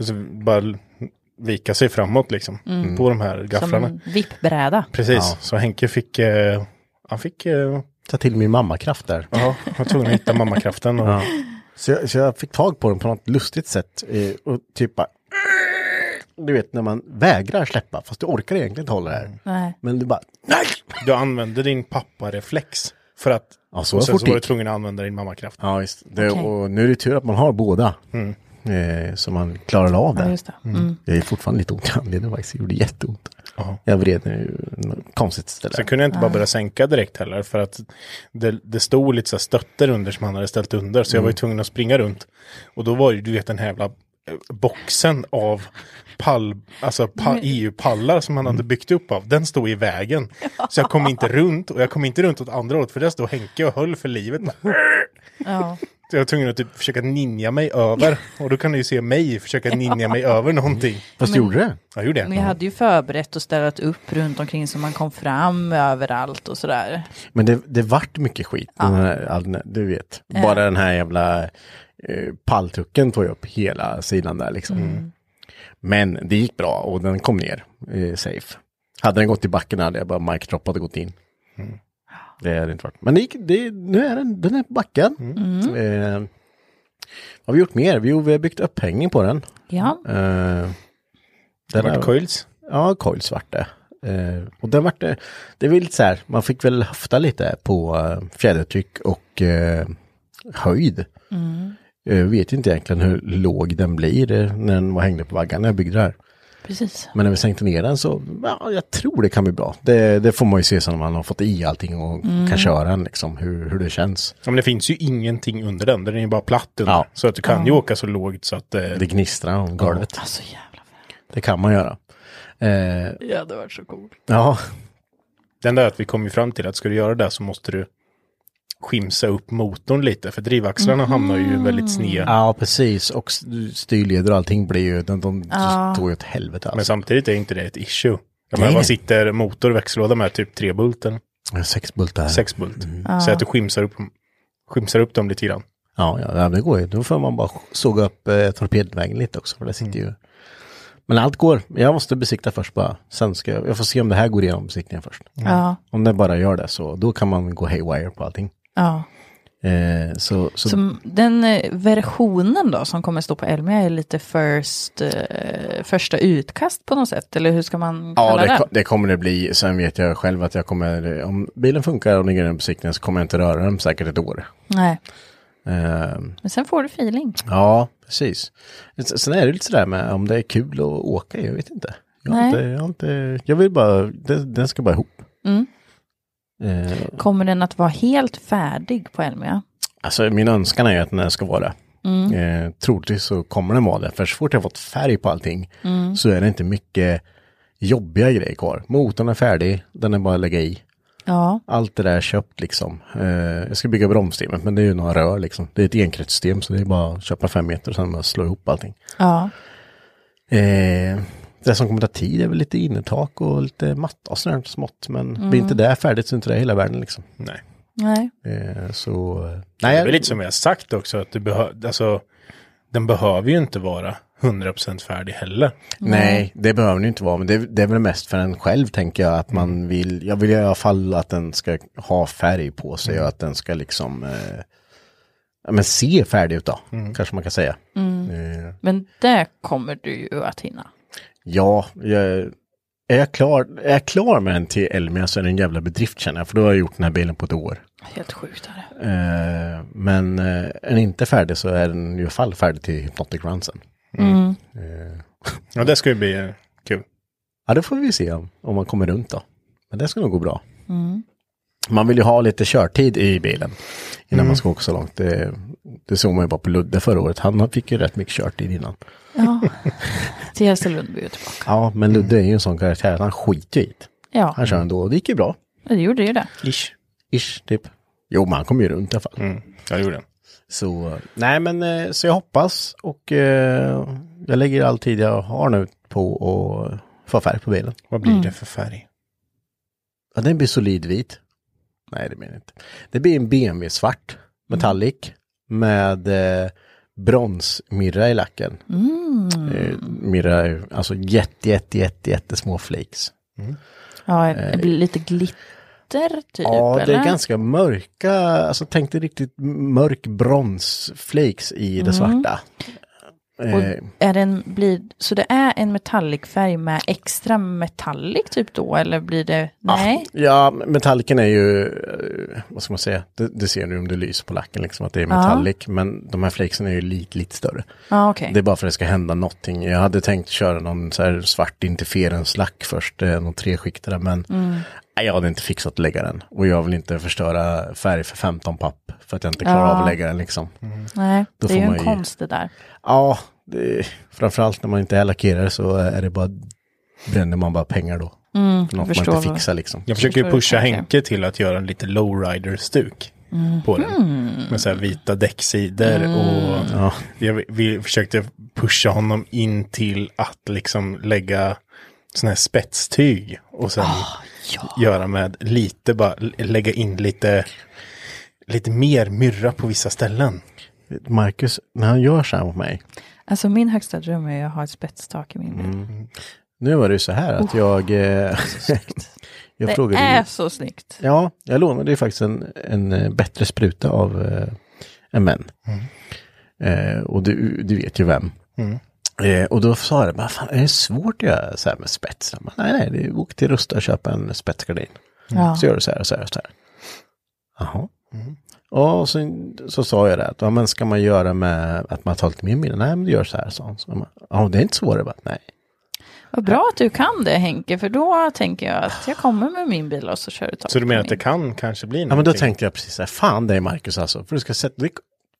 Speaker 3: Så bara l- vika sig framåt liksom på de här
Speaker 2: som
Speaker 3: gafflarna.
Speaker 2: en vippbräda.
Speaker 3: Precis,
Speaker 1: Mm. Ja.
Speaker 3: så Henke fick, eh, han fick, eh,
Speaker 1: Ta till min mammakraft där.
Speaker 3: ja, han var tvungen att hitta mammakraften. Och,
Speaker 1: Så jag, så jag fick tag på den på något lustigt sätt. Eh, och typ bara, du vet när man vägrar släppa, fast du orkar egentligen inte hålla det
Speaker 3: Mm.
Speaker 1: här.
Speaker 2: Nej.
Speaker 1: Men du bara, nej!
Speaker 3: Du använde din pappareflex för att,
Speaker 1: Ja, så
Speaker 3: och sen
Speaker 1: fort
Speaker 3: så var du
Speaker 1: gick.
Speaker 3: tvungen att använda din mammakraft.
Speaker 1: Ja, visst. Det,
Speaker 2: Okej.
Speaker 1: Och nu är det tur att man har båda. Eh, så man klarar av det.
Speaker 2: Ja, just det. Mm.
Speaker 1: Det är fortfarande lite ont i handleden faktiskt. Det gjorde jätteont. Jag vred mig ur något konstigt ställe.
Speaker 3: Sen kunde jag inte bara börja sänka direkt heller för att det, det stod lite så här stötter under som han hade ställt under så jag var ju tvungen att springa runt. Och då var ju du vet den här jävla eh, boxen av pall, alltså pa, EU-pallar som han hade byggt upp av, den stod i vägen. Så jag kom inte runt och jag kom inte runt åt andra hållet för där stod Henke och höll för livet.
Speaker 2: Ja.
Speaker 3: Så jag var tvungen att typ försöka ninja mig över och då kan du ju se mig försöka ninja mig över någonting.
Speaker 1: Fast gjorde det?
Speaker 3: Jag gjorde
Speaker 2: Men jag
Speaker 3: det.
Speaker 2: hade ju förberett och ställt upp runt omkring så man kom fram överallt och sådär.
Speaker 1: Men det, det vart mycket skit. Den här, all, den- du vet, bara den här jävla eh, palltrucken tog ju upp hela sidan där liksom. Men det gick bra och den kom ner eh, safe. Hade den gått i backen hade jag bara micdroppat och gått in. Det hade inte varit. Men det gick, det, nu är den, den är på backen. Eh, vad har vi gjort mer? Jo, vi har byggt upphängning på den.
Speaker 2: Ja,
Speaker 1: Eh,
Speaker 3: Det
Speaker 1: den
Speaker 3: var
Speaker 1: har-
Speaker 3: coils.
Speaker 1: Ja, coils vart det. Eh, och den vart det, det är väl lite så här, man fick väl höfta lite på eh, fjädertryck och eh, höjd. Eh, Jag vet inte egentligen hur låg den blir eh, när den var hängde på vaggan när jag byggde det här.
Speaker 2: precis.
Speaker 1: Men när vi sänkte ner den så, ja, jag tror det kan bli bra. Det, det får man ju se sen när man har fått i allting och kan köra den liksom, hur, hur det känns.
Speaker 3: Ja, men det finns ju ingenting under den, den är ju bara platt under.
Speaker 1: Ja.
Speaker 3: Så att du kan ju åka så lågt så att... Eh,
Speaker 1: Det gnistrar om golvet,
Speaker 2: Alltså jävla
Speaker 1: det kan man göra. Eh,
Speaker 2: Ja, det hade varit så coolt.
Speaker 1: ja,
Speaker 3: Den där att vi kom ju fram till att ska du göra det så måste du skimsa upp motorn lite, för drivaxlarna hamnar ju väldigt sned.
Speaker 1: ja, precis. Och st- styrleder och allting blir ju, de, de står ju åt helvete alltså.
Speaker 3: Men samtidigt är inte det ett issue. Jag
Speaker 1: Nej,
Speaker 3: menar,
Speaker 1: nej.
Speaker 3: vad sitter motor och växellåda med? Typ tre bulten,
Speaker 1: Jag har Sex bultar.
Speaker 3: sex bult. Så att du skimsar upp, skimsar upp dem lite grann.
Speaker 1: Ja, ja, ja, det går ju. Då får man bara såga upp eh, torpedvägen lite också, för det sitter ju. Men allt går. Jag måste besikta först bara. Sen ska jag, jag får se om det här går igenom besiktningen först.
Speaker 2: Ja,
Speaker 1: Om det bara gör det så, då kan man gå haywire på allting.
Speaker 2: ja.
Speaker 1: Eh, så, så,
Speaker 2: Som den eh, versionen då som kommer stå på Elmia är lite first, eh, första utkast på något sätt, eller hur ska man
Speaker 1: ja,
Speaker 2: kalla
Speaker 1: det, ko-
Speaker 2: den?
Speaker 1: det kommer det bli. Sen vet jag själv att jag kommer, om bilen funkar och den går igenom besiktningen så kommer jag inte röra den på säkert ett år.
Speaker 2: Nej,
Speaker 1: Eh,
Speaker 2: men sen får du feeling.
Speaker 1: ja, precis. S- Sen är det lite sådär med om det är kul att åka, jag vet inte. Jag, har
Speaker 2: Nej.
Speaker 1: inte, jag, har inte, jag vill bara, den, den ska bara ihop.
Speaker 2: Mm.
Speaker 1: Eh,
Speaker 2: Kommer den att vara helt färdig på Elmia?
Speaker 1: Alltså min önskan är ju att den här ska vara det.
Speaker 2: Mm.
Speaker 1: Eh, troligtvis så kommer den vara det. För så fort jag fått färg på allting
Speaker 2: Mm.
Speaker 1: så är det inte mycket jobbiga grejer kvar. Motorn är färdig, den är bara att lägga i.
Speaker 2: Ja,
Speaker 1: Allt det där är köpt liksom. Eh, jag ska bygga bromssystemet men det är ju några rör liksom. Det är ett enkretsystem så det är bara att köpa fem meter och sen bara slå ihop allting.
Speaker 2: ja,
Speaker 1: Eh, det som kommer ta tid är väl lite innertak och lite matta och sånt där smått. Men blir inte det färdigt så är inte det hela världen liksom.
Speaker 3: Nej.
Speaker 2: nej,
Speaker 1: Eh, så... Nej,
Speaker 3: Det är
Speaker 1: jag-
Speaker 3: väl lite som vi har sagt också, att du behö- alltså, den behöver ju inte vara 100% färdig heller.
Speaker 1: Nej, det behöver den ju inte vara, men det, det är väl mest för en själv tänker jag
Speaker 3: Mm.
Speaker 1: att man vill, jag vill i alla fall att den ska ha färg på sig
Speaker 3: Mm.
Speaker 1: och att den ska liksom eh, ja, men se färdig ut då,
Speaker 3: Mm.
Speaker 1: kanske man kan säga. Eh,
Speaker 2: men det kommer du ju att hinna.
Speaker 1: ja, jag, är, jag klar, är jag klar med den till Elmia E så är det en jävla bedrift känner jag, för då har jag gjort den här bilen på ett år.
Speaker 2: Helt sjukt är det.
Speaker 1: Eh, men eh, är den inte färdig så är den ju i alla fall färdig till Hypnotic Run sen.
Speaker 2: Mm.
Speaker 1: Eh,
Speaker 3: Ja, det ska ju bli eh, kul.
Speaker 1: ja, det får vi se om, om man kommer runt då. Men det ska nog gå bra.
Speaker 2: Mm.
Speaker 1: Man vill ju ha lite körtid i bilen innan man ska åka så långt. Det, det såg man ju bara på Ludde förra året. Han fick ju rätt mycket körtid innan.
Speaker 2: Ja, TLC Lundby är tillbaka.
Speaker 1: Ja, men Ludde är ju en sån karaktär att han skiter ju i det.
Speaker 2: Ja,
Speaker 1: Han kör ändå och det gick ju bra.
Speaker 2: det gjorde ju det.
Speaker 1: Ish. Ish, typ. Jo, men han kom ju runt i alla fall.
Speaker 3: Mm. Ja, det gjorde den.
Speaker 1: Så, nej men eh, så jag hoppas och eh, jag lägger all tid jag har nu på att få färg på bilen.
Speaker 3: Vad blir det för färg?
Speaker 1: Ja, den blir solid vit. Nej, det blir den inte. Det blir en BMW svart metallic med eh, bronsmirra i lacken.
Speaker 2: Mm.
Speaker 1: Eh, mirra, är ju- alltså jätte, jätte, jätte, jättesmå flakes.
Speaker 2: Ja, det blir lite glitter typ,
Speaker 1: eh, Ja, det
Speaker 2: eller?
Speaker 1: är ganska mörka,
Speaker 2: Mm.
Speaker 1: alltså tänk dig riktigt mörk bronsflakes i det svarta.
Speaker 2: Och
Speaker 1: Eh,
Speaker 2: är den, blir, så det är en metallic färg med extra metallic typ då, eller blir det,
Speaker 1: Ah.
Speaker 2: nej?
Speaker 1: Ja, metalliken är ju, eh, vad ska man säga, det, det ser du om det lyser på lacken liksom att det är metallic. Men de här flakesen är ju lite, lite större.
Speaker 2: Ja, okej.
Speaker 1: Det är bara för att det ska hända någonting. Jag hade tänkt köra någon så här svart interferenslack först, eh, någon treskiktare, men
Speaker 2: Mm.
Speaker 1: nej, jag hade inte fixat att lägga den. Och jag vill inte förstöra färg för 15 papp, för att jag inte klarar av att lägga den liksom.
Speaker 2: Nej,
Speaker 1: Då
Speaker 2: det är ju
Speaker 1: får
Speaker 2: en
Speaker 1: man ju-
Speaker 2: konst det där.
Speaker 1: Ja, det, framförallt när man inte är lackerare så är det bara, bränner man bara pengar då. Mm, för något man
Speaker 2: förstår
Speaker 1: inte
Speaker 2: vad-
Speaker 1: fixar liksom.
Speaker 3: Jag försöker ju
Speaker 2: Förstår du
Speaker 3: pusha
Speaker 2: tanken.
Speaker 3: Henke till att göra en lite lowrider-stuk på
Speaker 2: Mm.
Speaker 3: den. Med så här vita däcksidor
Speaker 1: Mm.
Speaker 3: och jag, vi försökte pusha honom in till att liksom lägga sån här spetstyg och sen göra med lite, bara l- lägga in lite, lite mer myrra på vissa ställen.
Speaker 1: Marcus, när han gör så här mot mig,
Speaker 2: Alltså min högsta dröm är ju att ha ett spetstak i min
Speaker 1: Mm,
Speaker 2: bil.
Speaker 1: Nu var det ju så här att jag... Eh, jag
Speaker 2: Oh. det
Speaker 1: frågade
Speaker 2: är
Speaker 1: ju,
Speaker 2: så snyggt.
Speaker 1: Ja, jag lånade ju faktiskt en, en eh, bättre spruta av eh, en vän.
Speaker 3: Mm.
Speaker 1: Eh, och du, du vet ju vem. Eh, och då sa jag, vad fan är det svårt att göra så här med spets? Jag bara, nej, nej, det är, åk till Rusta och köp en spetsgardin.
Speaker 2: Ja.
Speaker 1: Så gör du så här och så här och så här. Jaha.
Speaker 3: Mm.
Speaker 1: Och så, så sa jag det, att, ja, men ska man göra med att man tar lite mer middag? Nej, men du gör så här, sa han. Så jag bara, Ja, det är inte svårare. Jag bara, nej.
Speaker 2: Vad bra att du kan det Henke, för då tänker jag att jag kommer med min bil och så kör du tak
Speaker 3: Så du
Speaker 2: på
Speaker 3: menar att
Speaker 2: min.
Speaker 3: det kan kanske bli
Speaker 1: Ja men
Speaker 3: någonting?
Speaker 1: då tänkte jag precis så här, fan dig Marcus alltså, för du ska sätta, det,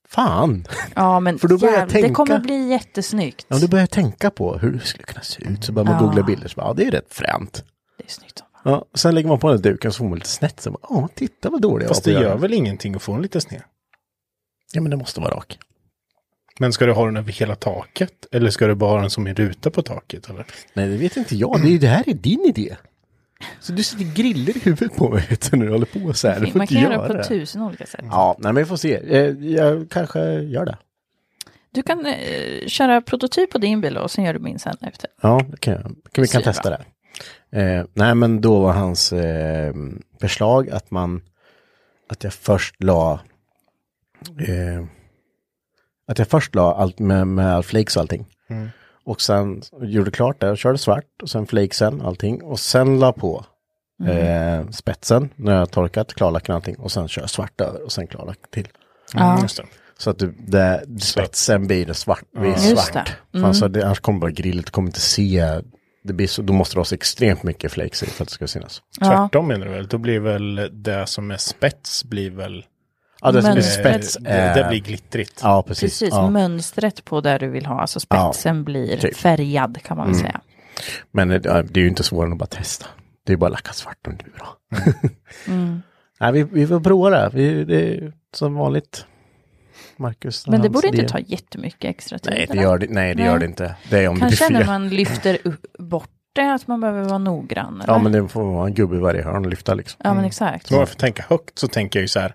Speaker 1: fan!
Speaker 2: Ja, men
Speaker 1: För då börjar jag
Speaker 2: jävlar, det
Speaker 1: tänka-
Speaker 2: kommer bli jättesnyggt.
Speaker 1: Ja, men då började jag tänka på hur det skulle kunna se ut, så började man googla bilder, så bara, ja det är rätt fränt.
Speaker 2: Det är snyggt som fan.
Speaker 1: Ja, sen lägger man på den här duken så får man lite snett, så bara, ja titta vad dålig jag
Speaker 3: Fast det
Speaker 1: var på att
Speaker 3: gör
Speaker 1: göra.
Speaker 3: väl ingenting att få en lite sned?
Speaker 1: Ja men det måste vara rak.
Speaker 3: Men ska du ha den över hela taket? Eller ska du bara ha den som en ruta på taket? Eller?
Speaker 1: Nej det vet inte jag, det, är, ju- det här är din idé. Så du sitter och grillar i huvudet på mig vet du, när du håller på så här, du får
Speaker 2: Man
Speaker 1: inte
Speaker 2: kan göra
Speaker 1: göra
Speaker 2: det på
Speaker 1: det.
Speaker 2: tusen olika sätt.
Speaker 1: Ja, nej men vi får se, Eh, jag kanske gör det.
Speaker 2: Du kan eh, köra prototyp på din bil och sen gör du min sen efter.
Speaker 1: Ja, det kan, jag. kan vi kan
Speaker 2: Syra.
Speaker 1: testa det. Eh, nej, men då var hans eh, förslag att man, att jag först la, eh, att jag först la allt med, med all flakes och allting. Och sen gjorde klart det, körde svart och sen flakesen, allting. Och sen la på eh, spetsen när jag torkat, klarlacken och allting. Och sen kör jag svart över och sen klarlack till.
Speaker 3: Mm, just det.
Speaker 1: Så att du, det, spetsen blir det svart. Blir
Speaker 2: Just
Speaker 1: svart.
Speaker 2: det. Mm.
Speaker 1: För alltså, det, annars kommer bara grillet, du kommer inte se. Det blir så, då måste du ha så extremt mycket flakes i för att det ska synas. typ.
Speaker 3: Tvärtom menar du väl? Då blir väl det som är spets blir väl...
Speaker 1: Ja, det som
Speaker 2: Men
Speaker 1: är
Speaker 3: eh,
Speaker 1: spets
Speaker 3: det,
Speaker 1: är...
Speaker 3: det blir glittrigt.
Speaker 1: Ja, precis.
Speaker 2: Precis,
Speaker 1: Ja.
Speaker 2: mönstret på där du vill ha, alltså spetsen blir
Speaker 1: typ. Mm.
Speaker 2: färgad kan man väl säga.
Speaker 1: Men eh, ja, det är ju inte svårare än att bara testa. Det är bara att lacka svart om du är bra.
Speaker 2: Mm.
Speaker 1: Nej, vi, vi får prova det. Vi, det är som vanligt. Marcus.
Speaker 2: Men det
Speaker 1: hans
Speaker 2: borde inte
Speaker 1: idéer.
Speaker 2: ta jättemycket extra tid.
Speaker 1: Nej, det
Speaker 2: eller?
Speaker 1: gör det, nej, det, gör
Speaker 2: Nej.
Speaker 1: det inte. Det är om det blir
Speaker 2: Kanske när
Speaker 1: fel.
Speaker 2: man lyfter upp, bort det, att man behöver vara noggrann. Eller?
Speaker 1: Ja, men det får vara en gubbe i varje hörn och lyfta liksom.
Speaker 2: Ja, men exakt.
Speaker 3: Så bara för att tänka högt så tänker jag ju så här.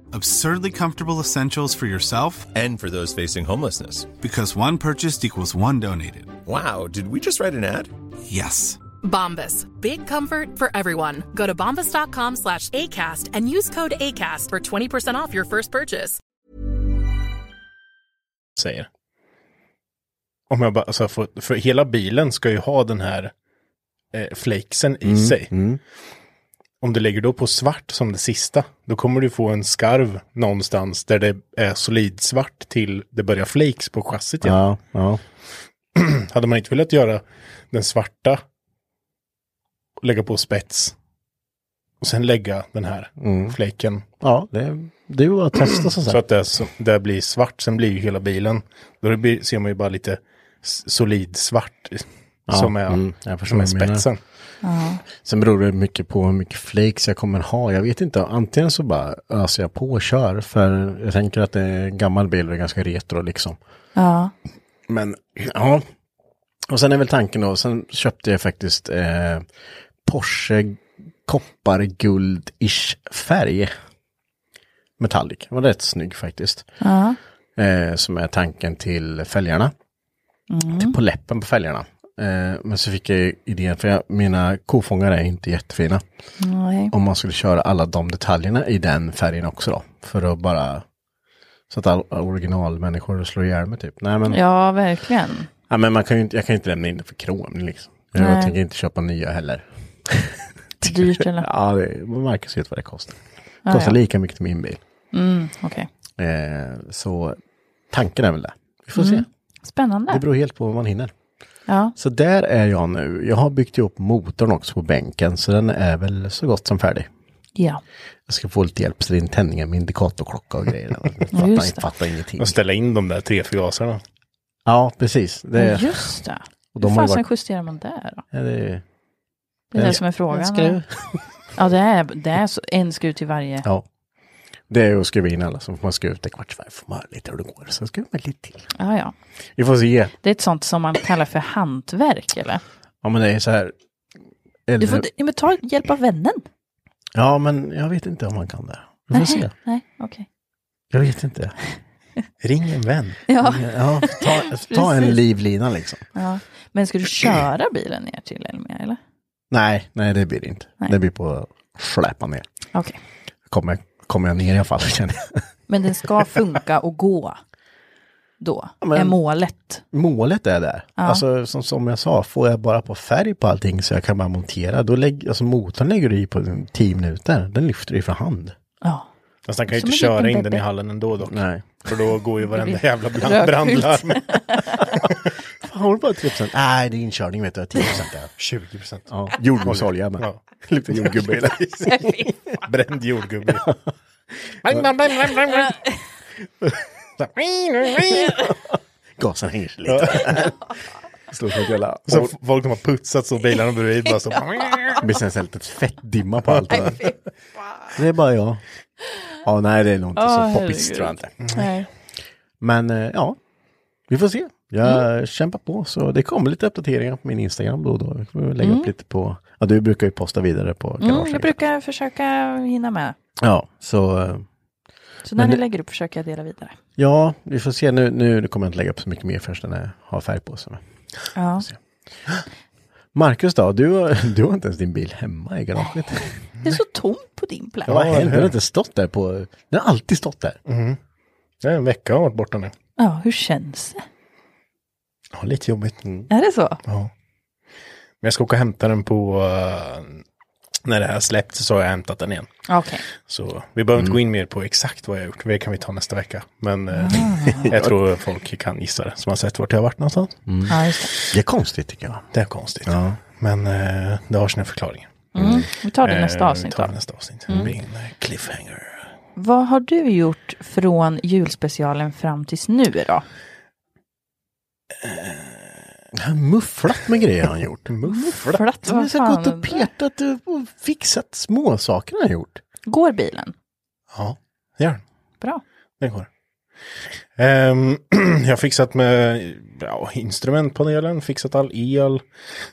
Speaker 4: Absurdly comfortable essentials for yourself
Speaker 5: And for those facing homelessness.
Speaker 4: because one purchased equals one donated.
Speaker 5: Wow, did we just write an ad?
Speaker 4: Yes.
Speaker 6: Bombas. Big comfort for everyone. Go to bombas.com slash ACAST and use code ACAST for 20% off your first purchase.
Speaker 3: säger. Om jag bara, alltså, för, för hela bilen ska ju ha den här eh, flakesen
Speaker 1: Mm,
Speaker 3: i sig. Om du lägger då på svart som det sista, då kommer du få en skarv någonstans där det är solidsvart till det börjar flakes på chassit. igen.
Speaker 1: Ja, ja.
Speaker 3: Hade man inte velat göra den svarta och lägga på spets Och sen lägga den här fläken.
Speaker 1: Mm. Ja, det, det var att testa som
Speaker 3: Så
Speaker 1: sagt.
Speaker 3: att det, så- det blir svart, sen blir ju hela bilen. Då blir, ser man ju bara lite s- solid svart. som är,
Speaker 1: mm, jag förstår
Speaker 3: som är
Speaker 1: vad du menar.
Speaker 3: spetsen.
Speaker 1: Sen beror det mycket på hur mycket flakes jag kommer ha. Jag vet inte, antingen så bara öser jag på och kör. För jag tänker att det är en gammal bil och det är ganska retro liksom.
Speaker 2: Ja.
Speaker 1: Men ja. Och sen är väl tanken då, sen köpte jag faktiskt eh, Porsche kopparguld-ish färg. Metallic, Den var rätt snygg faktiskt.
Speaker 2: Ja.
Speaker 1: Eh, som är tanken till fälgarna. Till på läppen på fälgarna. Eh, men så fick jag ju idén, för jag, mina kofångare är inte jättefina.
Speaker 2: Nej.
Speaker 1: Om man skulle köra alla de detaljerna i den färgen också då. För att bara... Så att all, originalmänniskor slår ihjäl mig typ. Nej men...
Speaker 2: Ja, verkligen.
Speaker 1: Ja, men man kan ju inte, jag kan ju inte lämna in det för krom liksom. Jag
Speaker 2: Nej.
Speaker 1: tänker inte köpa nya heller.
Speaker 2: Dyrt eller?
Speaker 1: Ja, det, Marcus vet vad det kostar. Det kostar
Speaker 2: ja.
Speaker 1: lika mycket till min bil.
Speaker 2: Mm, Okej.
Speaker 1: Eh, så tanken är väl det. Vi får
Speaker 2: Mm.
Speaker 1: se.
Speaker 2: Spännande.
Speaker 1: Det beror helt på vad man hinner.
Speaker 2: Ja.
Speaker 1: Så där är jag nu. Jag har byggt ihop motorn också på bänken, så den är väl så gott som färdig.
Speaker 2: ja.
Speaker 1: Jag ska få lite hjälp, så det är en tändning med indikatorklocka och grejer. Jag
Speaker 2: Just
Speaker 1: fattar,
Speaker 2: det.
Speaker 1: fattar ingenting.
Speaker 3: Och ställa in de där tre förgasarna.
Speaker 1: Ja, precis. Det,
Speaker 2: Ja,
Speaker 1: är-
Speaker 2: Just det.
Speaker 1: och
Speaker 2: Hur
Speaker 1: de har ju
Speaker 2: fasen
Speaker 1: varit...
Speaker 2: justerar man där då?
Speaker 1: Ja, det, är-
Speaker 2: Det är
Speaker 1: Eh,
Speaker 2: det som är frågan.
Speaker 1: skruv.
Speaker 2: Ja, det är, det är så, en skruv till varje.
Speaker 1: Ja. Det är att skruva in alla, så får man skruva ut en kvarts varv, får man höra lite hur det går, så skruvar man lite till.
Speaker 2: Ja, ja.
Speaker 1: Vi får se.
Speaker 2: Det är ett sånt som man kallar för hantverk, eller?
Speaker 1: Ja, men det är så här. Eller,
Speaker 2: Du får ja, men ta hjälp av vännen.
Speaker 1: Ja, men jag vet inte om man kan det. Vi får se.
Speaker 2: Nej, okej.
Speaker 1: Jag vet inte.
Speaker 3: Ring en vän.
Speaker 2: Ja.
Speaker 1: Ja, ta, ta en
Speaker 2: Precis.
Speaker 1: livlina liksom.
Speaker 2: ja. Men ska du köra bilen ner till Elmia, eller?
Speaker 1: Nej, nej det blir det inte.
Speaker 2: Nej.
Speaker 1: Det blir på att släpa ner.
Speaker 2: Okej.
Speaker 1: Kommer, kommer jag ner i alla fall känner jag.
Speaker 2: Men den ska funka och gå då,
Speaker 1: men-
Speaker 2: är målet.
Speaker 1: Målet är där. Alltså som, som jag sa, får jag bara på färg på allting så jag kan bara montera. Då lägg, alltså motorn lägger du i på 10 minuter. Den lyfter du i för hand.
Speaker 2: Ja.
Speaker 3: Fast han kan
Speaker 2: Som
Speaker 3: ju inte
Speaker 2: en liten
Speaker 3: köra in den i
Speaker 2: bebbe.
Speaker 3: hallen ändå dock.
Speaker 1: Nej.
Speaker 3: För då går ju varenda jävla
Speaker 2: Rökfyllt.
Speaker 3: brand- brandlarm.
Speaker 1: Fan, har du bara 3 Nej, det är inkörning vet du. 10 procent.
Speaker 3: 20 procent.
Speaker 1: Ja, jordgubbsolja med.
Speaker 3: Ja.
Speaker 1: Lite jordgubbe i det.
Speaker 3: Bränd jordgubbe.
Speaker 1: Gasen hänger sig lite. Står som ett jävla...
Speaker 3: Så f- folk som har putsat så bilarna bredvid bara så.
Speaker 1: Det blir sen så här lite fettdimma på allt det där. Det är bara jag. Ja, nej, det är nog inte
Speaker 2: Åh,
Speaker 1: så poppis
Speaker 2: herregud.
Speaker 1: tror jag inte.
Speaker 2: Nej.
Speaker 1: Men eh, ja, vi får se. Jag
Speaker 3: Mm.
Speaker 1: kämpar på, så det kommer lite uppdateringar på min Instagram då och då. Jag får lägga
Speaker 3: Mm.
Speaker 1: upp lite på... Ja, du brukar ju posta vidare på
Speaker 2: Mm,
Speaker 1: garaget.
Speaker 2: jag brukar försöka hinna med.
Speaker 1: Ja, så... eh,
Speaker 2: Så när
Speaker 1: Men
Speaker 2: ni
Speaker 1: det-
Speaker 2: lägger upp försöker jag dela vidare.
Speaker 1: Ja, vi får se. Nu, nu kommer jag inte lägga upp så mycket mer förrän den är- har färg på sig.
Speaker 2: Ja.
Speaker 1: Marcus då, du, har- du har inte ens din bil hemma i garaget.
Speaker 2: Det är så tomt på din plats.
Speaker 1: Ja, vad händer? Den har inte stått där på... Den har alltid stått där.
Speaker 3: Det är en vecka jag har varit borta nu.
Speaker 2: Ja, hur känns det?
Speaker 3: Ja, lite jobbigt.
Speaker 2: Är det så?
Speaker 3: Ja. Men jag ska åka och hämta den på... eh, när det här släppts så har jag hämtat den igen.
Speaker 2: Okej.
Speaker 3: Så vi behöver inte gå in mer på exakt vad jag har gjort. Det kan vi ta nästa vecka. Men eh,
Speaker 2: Ah.
Speaker 1: Mm.
Speaker 3: jag tror folk kan gissa det. Som har sett vart jag har varit någonstans.
Speaker 2: Ja, just det.
Speaker 1: Det är konstigt tycker jag.
Speaker 3: Det är konstigt. Men eh, det har sina förklaringar.
Speaker 2: Vi tar det i nästa
Speaker 3: Eh,
Speaker 2: avsnitt
Speaker 3: Vi tar
Speaker 2: då. Mm.
Speaker 3: det nästa avsnitt. Det blir en eh, cliffhanger.
Speaker 2: Vad har du gjort från julspecialen fram tills nu då?
Speaker 1: Han mufflat med grejer han gjort. mufflat?
Speaker 2: Mufflat,
Speaker 1: Han har
Speaker 2: vad
Speaker 1: så
Speaker 2: fan
Speaker 1: gått
Speaker 2: är
Speaker 1: och
Speaker 2: det?
Speaker 1: petat och fixat småsaker han har gjort.
Speaker 2: Går bilen?
Speaker 3: Ja, det gör den.
Speaker 2: Bra.
Speaker 3: Det går. Ehm, jag har fixat med ja, instrumentpanelen, fixat all el.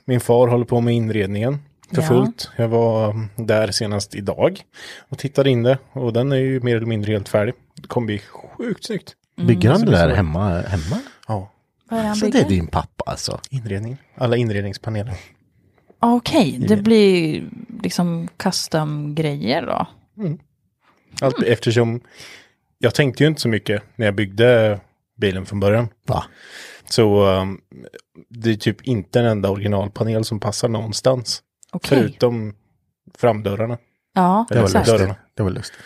Speaker 3: Min far håller på med inredningen för
Speaker 2: Ja.
Speaker 3: fullt. Jag var mm, där senast idag och tittade in det och den är ju mer eller mindre helt färdig. Det kommer bli sjukt snyggt.
Speaker 1: Bygger han det där
Speaker 3: Mm, så.
Speaker 1: hemma? hemma?
Speaker 3: Ja,
Speaker 2: Vad är det han
Speaker 1: Så det är
Speaker 2: bygger?
Speaker 1: din pappa alltså?
Speaker 3: inredningen. Alla inredningspaneler.
Speaker 2: Ah, Okej, det blir liksom custom-grejer då.
Speaker 3: Allt eftersom jag tänkte ju inte så mycket när jag byggde bilen från början.
Speaker 1: Va?
Speaker 3: Så ehm, det är typ inte en enda originalpanel som passar någonstans.
Speaker 2: Okej.
Speaker 3: Förutom framdörrarna.
Speaker 2: Ja,
Speaker 3: Det var
Speaker 2: exakt.
Speaker 3: lite dörrarna.
Speaker 1: Det var lustigt.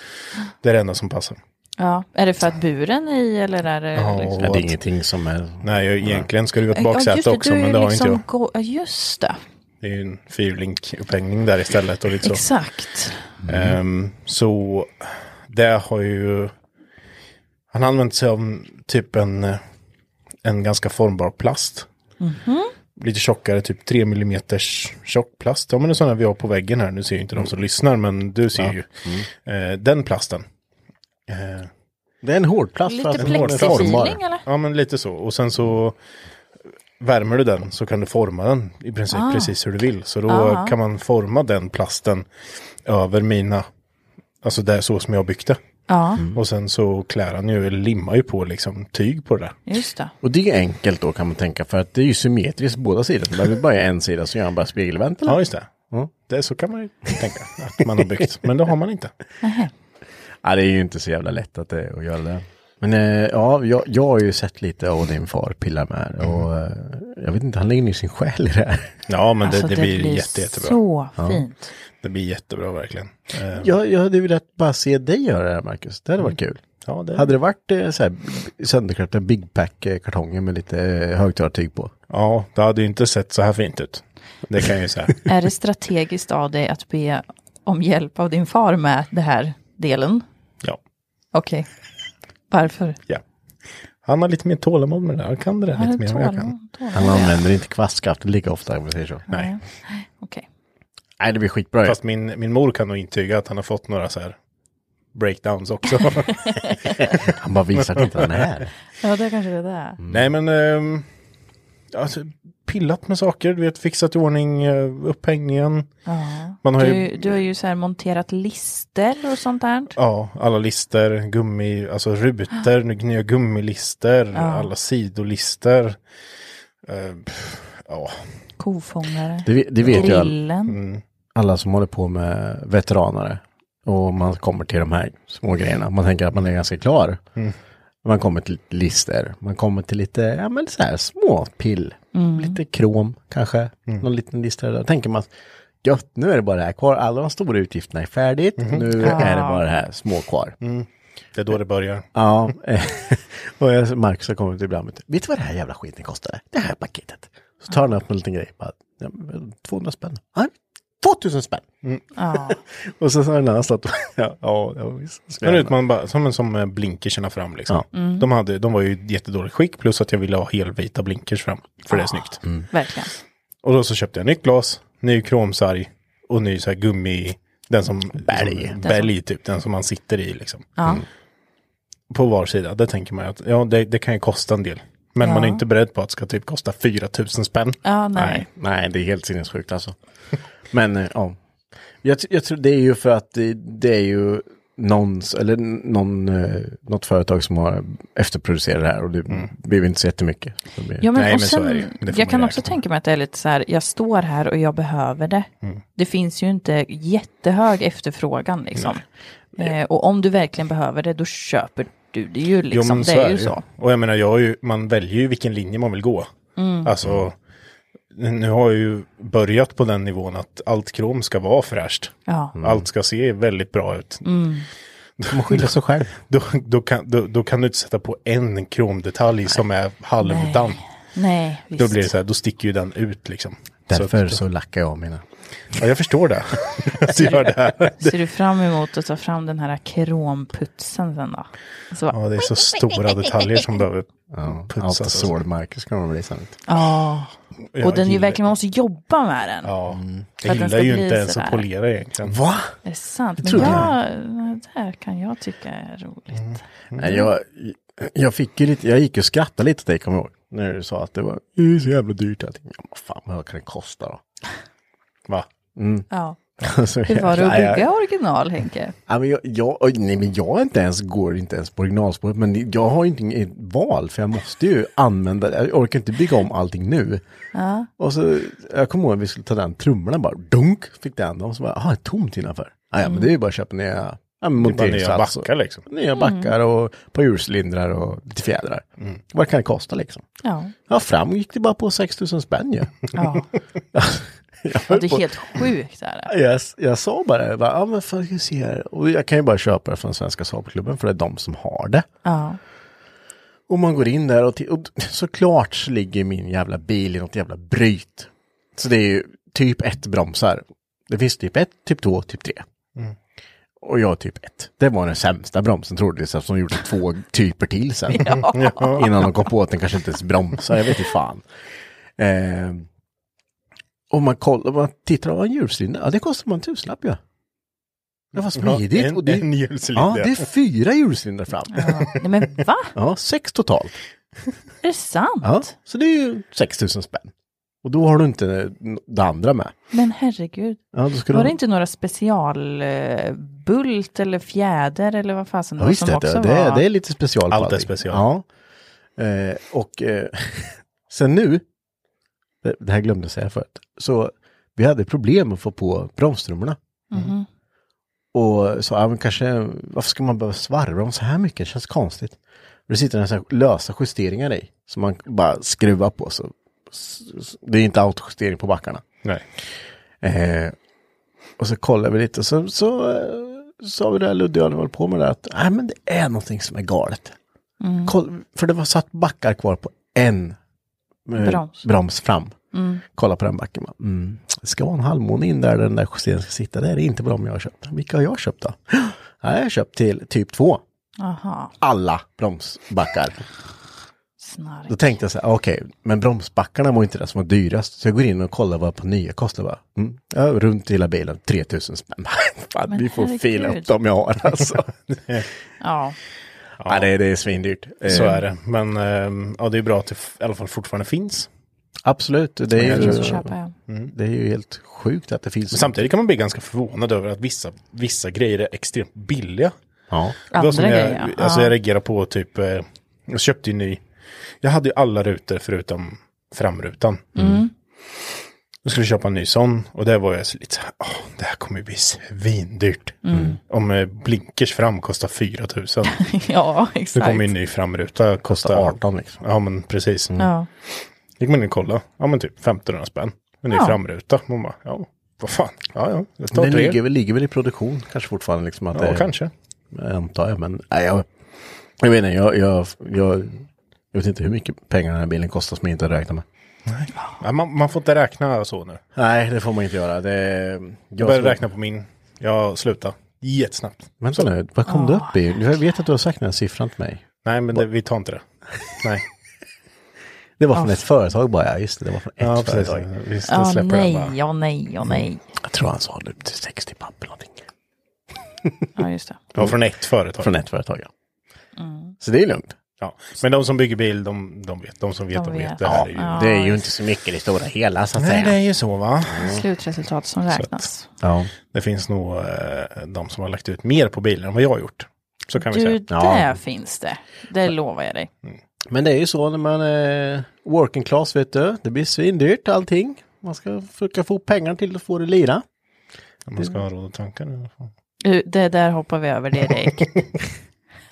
Speaker 3: Det är det enda som passar.
Speaker 2: Ja, är det för att buren är i eller är det...
Speaker 3: Ja,
Speaker 2: liksom...
Speaker 3: och
Speaker 1: det är
Speaker 3: att-
Speaker 1: ingenting som är...
Speaker 3: Nej, jag, egentligen ska det ju vara ett
Speaker 2: Ja,
Speaker 3: baksäte
Speaker 2: just
Speaker 3: också,
Speaker 2: du är
Speaker 3: men
Speaker 2: ju
Speaker 3: det har
Speaker 2: liksom
Speaker 3: inte jag.
Speaker 2: Go... Ja, just det.
Speaker 3: Det är ju en fyrlink-upphängning där istället och lite så.
Speaker 2: Exakt.
Speaker 3: Ehm, så det har ju... Han använt sig av typ en, eh, en ganska formbar plast.
Speaker 2: Mhm.
Speaker 3: Lite tjockare, typ 3 mm tjock plast. Ja men det är sådana vi har på väggen här. Nu ser ju inte de som lyssnar men du ser ju.
Speaker 2: Mm.
Speaker 3: Eh, den plasten. Eh,
Speaker 1: Det är en hårdplast.
Speaker 2: Lite
Speaker 1: fast den är formbar.
Speaker 2: plexifeeling eller?
Speaker 3: Ja, men lite så. Och sen så värmer du den så kan du forma den i princip precis hur du vill. Så då kan man forma den plasten över mina, alltså där så som jag byggde.
Speaker 2: Ja,
Speaker 3: Och sen så klär han ju, eller limmar ju på liksom tyg på det där.
Speaker 2: just det.
Speaker 1: Och det är enkelt då kan man tänka för att det är ju symmetriskt på båda sidor. Det behöver bara en sida så gör han bara spegelvänt eller?
Speaker 3: Ja, just det. det. Så kan man ju tänka att man har byggt, men det har man inte.
Speaker 1: Ja, det är ju inte så jävla lätt att, det, att göra det. Men eh, ja, jag, jag har ju sett lite av din far pilla med det och eh, jag vet inte, han lägger ner sin själ i det här.
Speaker 3: Ja, men det, det, blir, jätte, jättebra.
Speaker 2: Alltså, så fint.
Speaker 3: Det blir jättebra verkligen. Eh,
Speaker 1: Jag, jag hade velat bara se dig göra det här Marcus, det hade varit kul.
Speaker 3: Ja, det,
Speaker 1: Hade Mm. det varit eh, så här b- sönderklippta Big Pack-kartonger med lite eh, högtalartyg på?
Speaker 3: ja, det hade ju inte sett så här fint ut. Det kan jag ju säga.
Speaker 2: Är det strategiskt av dig att be om hjälp av din far med det här delen?
Speaker 3: Ja.
Speaker 2: Okej. Varför?
Speaker 3: Ja. Han har lite mer tålamod med det där. Han kan det där lite mer än vad jag kan.
Speaker 1: Han använder inte kvastskaft lika ofta om vi säger så.
Speaker 3: Nej.
Speaker 2: Okej.
Speaker 1: Nej, det blir skitbra. ju.
Speaker 3: Fast min, min mor kan nog intyga att han har fått några så här breakdowns också. Mm.
Speaker 1: Han bara visar att inte han är här.
Speaker 2: Ja, det kanske är det.
Speaker 3: Nej men, ehm, alltså, pillat med saker, du vet, fixat i ordning eh, upphängningen. Man har ju
Speaker 2: Du, du har ju så här monterat lister och sånt där.
Speaker 3: ja, alla lister, gummi, alltså rutor, nu nya gummilister, alla sidolister. Eh, pff, ja,
Speaker 2: Kofångare.
Speaker 1: Det, ve- det vet ju all,
Speaker 2: Grillen.
Speaker 3: Mm.
Speaker 1: alla som håller på med veteranare. Och man kommer till de här små grejerna. Man tänker att man är ganska klar. Man kommer till lite lister. Man kommer till lite, ja men så här små pill. Lite krom kanske. Någon liten lista. Då tänker man, gött nu är det bara det här kvar. Alla de stora utgifterna är färdigt. Nu är det bara det här små kvar.
Speaker 3: det är då det börjar.
Speaker 1: Ja, eh, och jag- Marcus har kommit ibland med, typ, vet du vad det här jävla skiten kostade? Det här paketet. Så tar han upp en liten grej, bara, "Ja, men 200 spänn. Ja, 2000 spänn. och så har en annan stått, ja, ja, ja visst.
Speaker 3: Men ut, man bara, som, som eh, blinkersarna fram liksom. De, hade, de var ju i jättedåligt skick, plus att jag ville ha helvita blinkers fram,
Speaker 1: Ah.
Speaker 3: för det är snyggt.
Speaker 1: Mm.
Speaker 2: Verkligen.
Speaker 3: Och då så köpte jag nytt glas, ny kromsarg och ny så här gummi, den som
Speaker 1: Bälg. Mm.
Speaker 3: som, bälg typ, den som man sitter i liksom. På var sida, där tänker man ju att ja, det, det kan ju kosta en del. Men man är inte beredd på att det ska typ kosta 4 000 spänn.
Speaker 2: Ja, nej.
Speaker 1: Nej, nej, det är helt sinnessjukt alltså. Men eh, ja, jag, tr- jag tror det är ju för att det, det är ju någons, eller n- någon, eh, något företag som har efterproducerat det här och det blir inte så jättemycket. Det blir-
Speaker 2: Ja, men,
Speaker 3: Nej,
Speaker 2: och
Speaker 3: men så
Speaker 2: sen,
Speaker 3: är det ju. Det får
Speaker 2: Jag
Speaker 3: man
Speaker 2: kan
Speaker 3: ju
Speaker 2: också
Speaker 3: räkna med.
Speaker 2: tänka mig att det är lite så här, jag står här och jag behöver det.
Speaker 3: Mm.
Speaker 2: Det finns ju inte jättehög efterfrågan liksom. Eh, och om du verkligen behöver det, då köper du det ju liksom. det är ju så.
Speaker 3: Och jag menar, jag har ju, man väljer ju vilken linje man vill gå.
Speaker 2: Mm.
Speaker 3: Alltså, nu har jag ju börjat på den nivån att allt krom ska vara fräscht.
Speaker 2: Ja. Mm.
Speaker 3: Allt ska se väldigt bra ut.
Speaker 1: man skyller sig själv.
Speaker 3: Då, då, kan, då, då kan du inte sätta på en kromdetalj som är halvdamp.
Speaker 2: Nej, visst.
Speaker 3: Då blir det så här, då sticker ju den ut liksom.
Speaker 1: Därför
Speaker 3: Så,
Speaker 1: så lackar jag mina.
Speaker 3: ja, jag förstår det. att du gör det här.
Speaker 2: Ser du fram emot att ta fram den här kromputsen sen då? Och Så bara,
Speaker 3: Ja, det är så stora detaljer som behöver putsas.
Speaker 1: Allt
Speaker 3: alltså.
Speaker 1: såld Marcus kommer bli sen.
Speaker 2: ja.
Speaker 3: Jag
Speaker 2: Och den är ju
Speaker 3: gillar- Mm.
Speaker 2: verkligen, man måste jobba med den.
Speaker 3: Ja,
Speaker 2: För att
Speaker 3: jag
Speaker 2: den ska
Speaker 3: gillar ju
Speaker 2: bli
Speaker 3: inte ens
Speaker 2: sådär.
Speaker 3: att polera egentligen.
Speaker 1: Va?
Speaker 2: Är det sant? Men
Speaker 1: trodde
Speaker 2: ja, det här kan jag tycka är roligt.
Speaker 1: Mm. Nej, jag, jag fick ju lite, jag gick och skrattade lite åt dig kommer jag ihåg. När du sa att det var det är så jävla dyrt allting. Ja, vad fan vad kan det kosta då?
Speaker 3: Va?
Speaker 2: Ja.
Speaker 1: Så
Speaker 2: Hur var det att
Speaker 1: jävla-
Speaker 2: bygga original, Henke?
Speaker 1: Ja, men jag, jag, oj, nej, men jag är inte ens, går inte ens på originalspåret, men jag har ju inget val, för jag måste ju använda det. Jag orkar inte bygga om allting nu. Och så, jag kommer ihåg att vi skulle ta den trummorna bara, dunk, fick den. Och så bara, aha, tomt innanför. Ja,
Speaker 2: Mm.
Speaker 1: ja, men det är ju bara att köpa nya ja, men
Speaker 3: Bara nya
Speaker 1: monteringssats. och-
Speaker 3: backar liksom.
Speaker 1: Nya backar och på hjulcylindrar och lite fjädrar. Vad kan det kosta liksom?
Speaker 2: Ja.
Speaker 1: Ja, fram gick det bara på 6 000 spänn ju.
Speaker 2: Ja.
Speaker 1: Jag
Speaker 2: ja,
Speaker 1: höll
Speaker 2: det
Speaker 1: på-
Speaker 2: är helt sjukt. Är det.
Speaker 1: jag, jag sa bara, jag bara, ja men fan, ska vi se här. Och jag kan ju bara köpa det från Svenska Saabklubben för det är de som har det.
Speaker 2: Ja.
Speaker 1: Och man går in där och, t- och såklart så ligger min jävla bil i något jävla bryt. Så det är ju typ ett bromsar. Det finns typ ett, typ två, typ tre.
Speaker 3: Mm.
Speaker 1: Och jag typ ett. Det var den sämsta bromsen troligtvis eftersom de gjorde två typer till sen. Innan de kom på att den kanske inte ens bromsade, jag vet inte fan. Eh, och man kollar, man tittar, vad en hjulcylinder, ja det kostar man en tusenlapp ja. Det var smidigt.
Speaker 3: Ja, en-
Speaker 1: och det,
Speaker 3: en hjulcylinder.
Speaker 1: Ja, det är fyra hjulcylindrar fram.
Speaker 2: Nej men va?
Speaker 1: Ja, sex totalt.
Speaker 2: Är det sant?
Speaker 1: Ja, så det är ju 6 000 spänn. Och då har du inte det andra med.
Speaker 2: Men herregud.
Speaker 1: Ja, då skulle
Speaker 2: Var
Speaker 1: du-
Speaker 2: det inte några specialbult eller fjäder eller vad fasen det
Speaker 1: Ja,
Speaker 2: var
Speaker 1: visst,
Speaker 2: som
Speaker 1: det,
Speaker 2: också
Speaker 1: det, det, är-
Speaker 2: var?
Speaker 1: det är lite special.
Speaker 3: Allt är
Speaker 1: padding.
Speaker 3: special.
Speaker 1: Ja. Eh, och eh, sen nu, det, det här glömde jag säga förut, så vi hade problem att få på bromstrummorna.
Speaker 2: Mhm.
Speaker 1: Mm. Och så, ja, men kanske, varför ska man behöva svarva dem så här mycket? Det känns konstigt. Det sitter en sån här lösa justeringar i, som man bara skruvar på. Så, s- s- det är inte autojustering på backarna.
Speaker 3: Nej.
Speaker 1: Eh, och så kollade vi lite och så, så eh, sa vi det här Ludde och jag höll på med det här, att nej men det är någonting som är galet. Koll, för det var satt backar kvar på en eh,
Speaker 2: Broms.
Speaker 1: broms fram. Kolla på den backen. bara, Mm. Det ska vara en halvmåne in där den där justeringen ska sitta. Det är det inte på dem jag har köpt. Vilka har jag köpt då? Nej, jag har köpt till typ 2.
Speaker 2: Aha,
Speaker 1: Alla bromsbackar.
Speaker 2: snark.
Speaker 1: Då tänkte jag så här, "Ah, okej, men bromsbackarna var inte det som var dyrast. Så jag går in och kollar vad på nya kostar. Bara, mm, ja, runt hela bilen, 3000 spänn. Fan,
Speaker 2: Men
Speaker 1: vi får
Speaker 2: herregud.
Speaker 1: fila upp dem jag har alltså.
Speaker 2: Ja,
Speaker 1: ja, det, det är svindyrt.
Speaker 3: Så
Speaker 1: Eh,
Speaker 3: är det. Men ehm, ja, det är bra att det f- i alla fall fortfarande finns.
Speaker 1: Eh, Absolut, det är,
Speaker 2: jag måste
Speaker 1: ju,
Speaker 2: köpa en.
Speaker 1: det är ju helt sjukt att det finns.
Speaker 3: Mm. Men samtidigt kan man bli ganska förvånad över att vissa, vissa grejer är extremt billiga.
Speaker 1: Ja,
Speaker 3: Det var
Speaker 2: Andra
Speaker 3: som jag,
Speaker 2: grejer, ja.
Speaker 3: Alltså
Speaker 2: Ja.
Speaker 3: jag reagerar på typ, eh, jag köpte ju ny, jag hade ju alla rutor förutom framrutan.
Speaker 2: Mm.
Speaker 1: Mm.
Speaker 3: Jag skulle köpa en ny sån och där var jag så lite så här, "Åh, det här kommer ju bli svindyrt.
Speaker 2: Mm.
Speaker 1: Mm.
Speaker 3: Om eh, blinkers fram kostar 4 000,
Speaker 2: ja
Speaker 3: så
Speaker 2: exakt.
Speaker 3: kommer ju en ny framruta kosta
Speaker 1: kostar 18 liksom.
Speaker 3: Ja men precis.
Speaker 2: Ja.
Speaker 3: Gick man in och kollade, ja men typ 1500 spänn. En ny
Speaker 2: Ja.
Speaker 3: framruta. Man bara, ja vad fan, ja ja, jag tar
Speaker 1: Den
Speaker 3: tre.
Speaker 1: ligger, väl- ligger väl i produktion kanske fortfarande. Liksom, att
Speaker 3: Ja
Speaker 1: det,
Speaker 3: kanske.
Speaker 1: Antar jag, men nej, jag, jag menar, jag, jag, jag, jag vet inte hur mycket pengar den här bilen kostar som jag inte har räknat med.
Speaker 3: Ja, man, man får inte räkna så nu.
Speaker 1: Nej, det får man inte göra. Det,
Speaker 3: Jag började räkna på min. Jag slutade. Jättesnabbt.
Speaker 1: Vänta nu, vad kom du upp i? Jag vet att du har sagt den här siffran till mig.
Speaker 3: Nej, men det, vi tar inte det. Nej.
Speaker 1: Det var från ett företag bara, ja just det, det var från ett
Speaker 3: Ja, precis.
Speaker 1: företag.
Speaker 3: Vi
Speaker 2: Ja,
Speaker 3: släpper
Speaker 2: nej,
Speaker 3: den bara.
Speaker 2: ja, nej, ja, nej.
Speaker 1: Jag tror han sa det till 60 papp eller någonting.
Speaker 2: Ja, just det. Mm.
Speaker 3: Det var från ett företag.
Speaker 1: Från ett företag, ja. Så det är lugnt.
Speaker 3: Ja. Men de som bygger bil, de, de vet. De som vet, de,
Speaker 2: De
Speaker 3: vet.
Speaker 2: vet.
Speaker 3: Det här är ju...
Speaker 1: Det är ju inte så mycket i det stora hela så att
Speaker 3: Nej,
Speaker 1: säga.
Speaker 3: det är ju så va.
Speaker 2: Slutresultat som räknas.
Speaker 1: Ja.
Speaker 3: Det finns nog eh, de som har lagt ut mer på bilar än vad jag har gjort. Så kan vi
Speaker 2: Du,
Speaker 3: säga.
Speaker 2: där finns det. Det lovar jag dig.
Speaker 1: Men det är ju så när man är working class, vet du. Det blir svindyrt allting. Man ska försöka få pengar till att få det lira.
Speaker 3: Man ska ha råd att tanka nu. i alla fall.
Speaker 2: Du, Det där hoppar vi över direkt.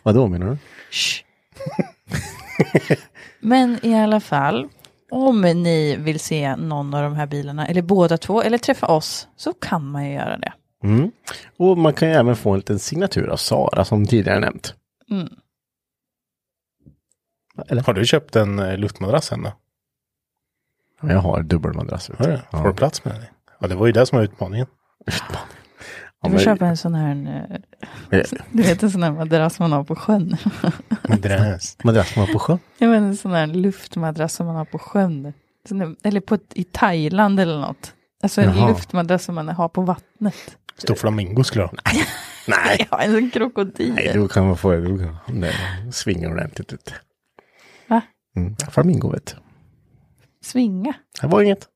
Speaker 1: Vadå menar du?
Speaker 2: Shh. Men i alla fall, om ni vill se någon av de här bilarna, eller båda två, eller träffa oss, så kan man ju göra det.
Speaker 1: Mm. Och man kan ju även få en liten signatur av Sara som tidigare nämnt.
Speaker 2: Mm.
Speaker 3: Har du köpt en eh, luftmadrass än då?
Speaker 1: Jag har dubbelmadrass. vet du.
Speaker 3: Har du det?
Speaker 1: Ja.
Speaker 3: Får du plats med den? Ja, det var ju det som var utmaningen.
Speaker 1: Ja,
Speaker 2: Du får
Speaker 1: men-
Speaker 2: köpa en sån här, eh, du vet en sån här madrass man har på sjön.
Speaker 3: Madrass.
Speaker 1: Madrass man har på sjön.
Speaker 2: Jag menar en sån här luftmadrass som man har på sjön. Sån där- Eller på, ett- i Thailand eller något. Alltså en
Speaker 1: Jaha.
Speaker 2: luftmadrass som man har på vattnet.
Speaker 3: Stor flamingo skulle jag ha.
Speaker 1: Nej.
Speaker 2: Ja, en sån krokodil.
Speaker 1: Nej, då kan man få då kan, nej, då svingar ordentligt ut.
Speaker 2: Va?
Speaker 1: Mm. Flamingo vet du.
Speaker 2: Svinga.
Speaker 1: Det var inget.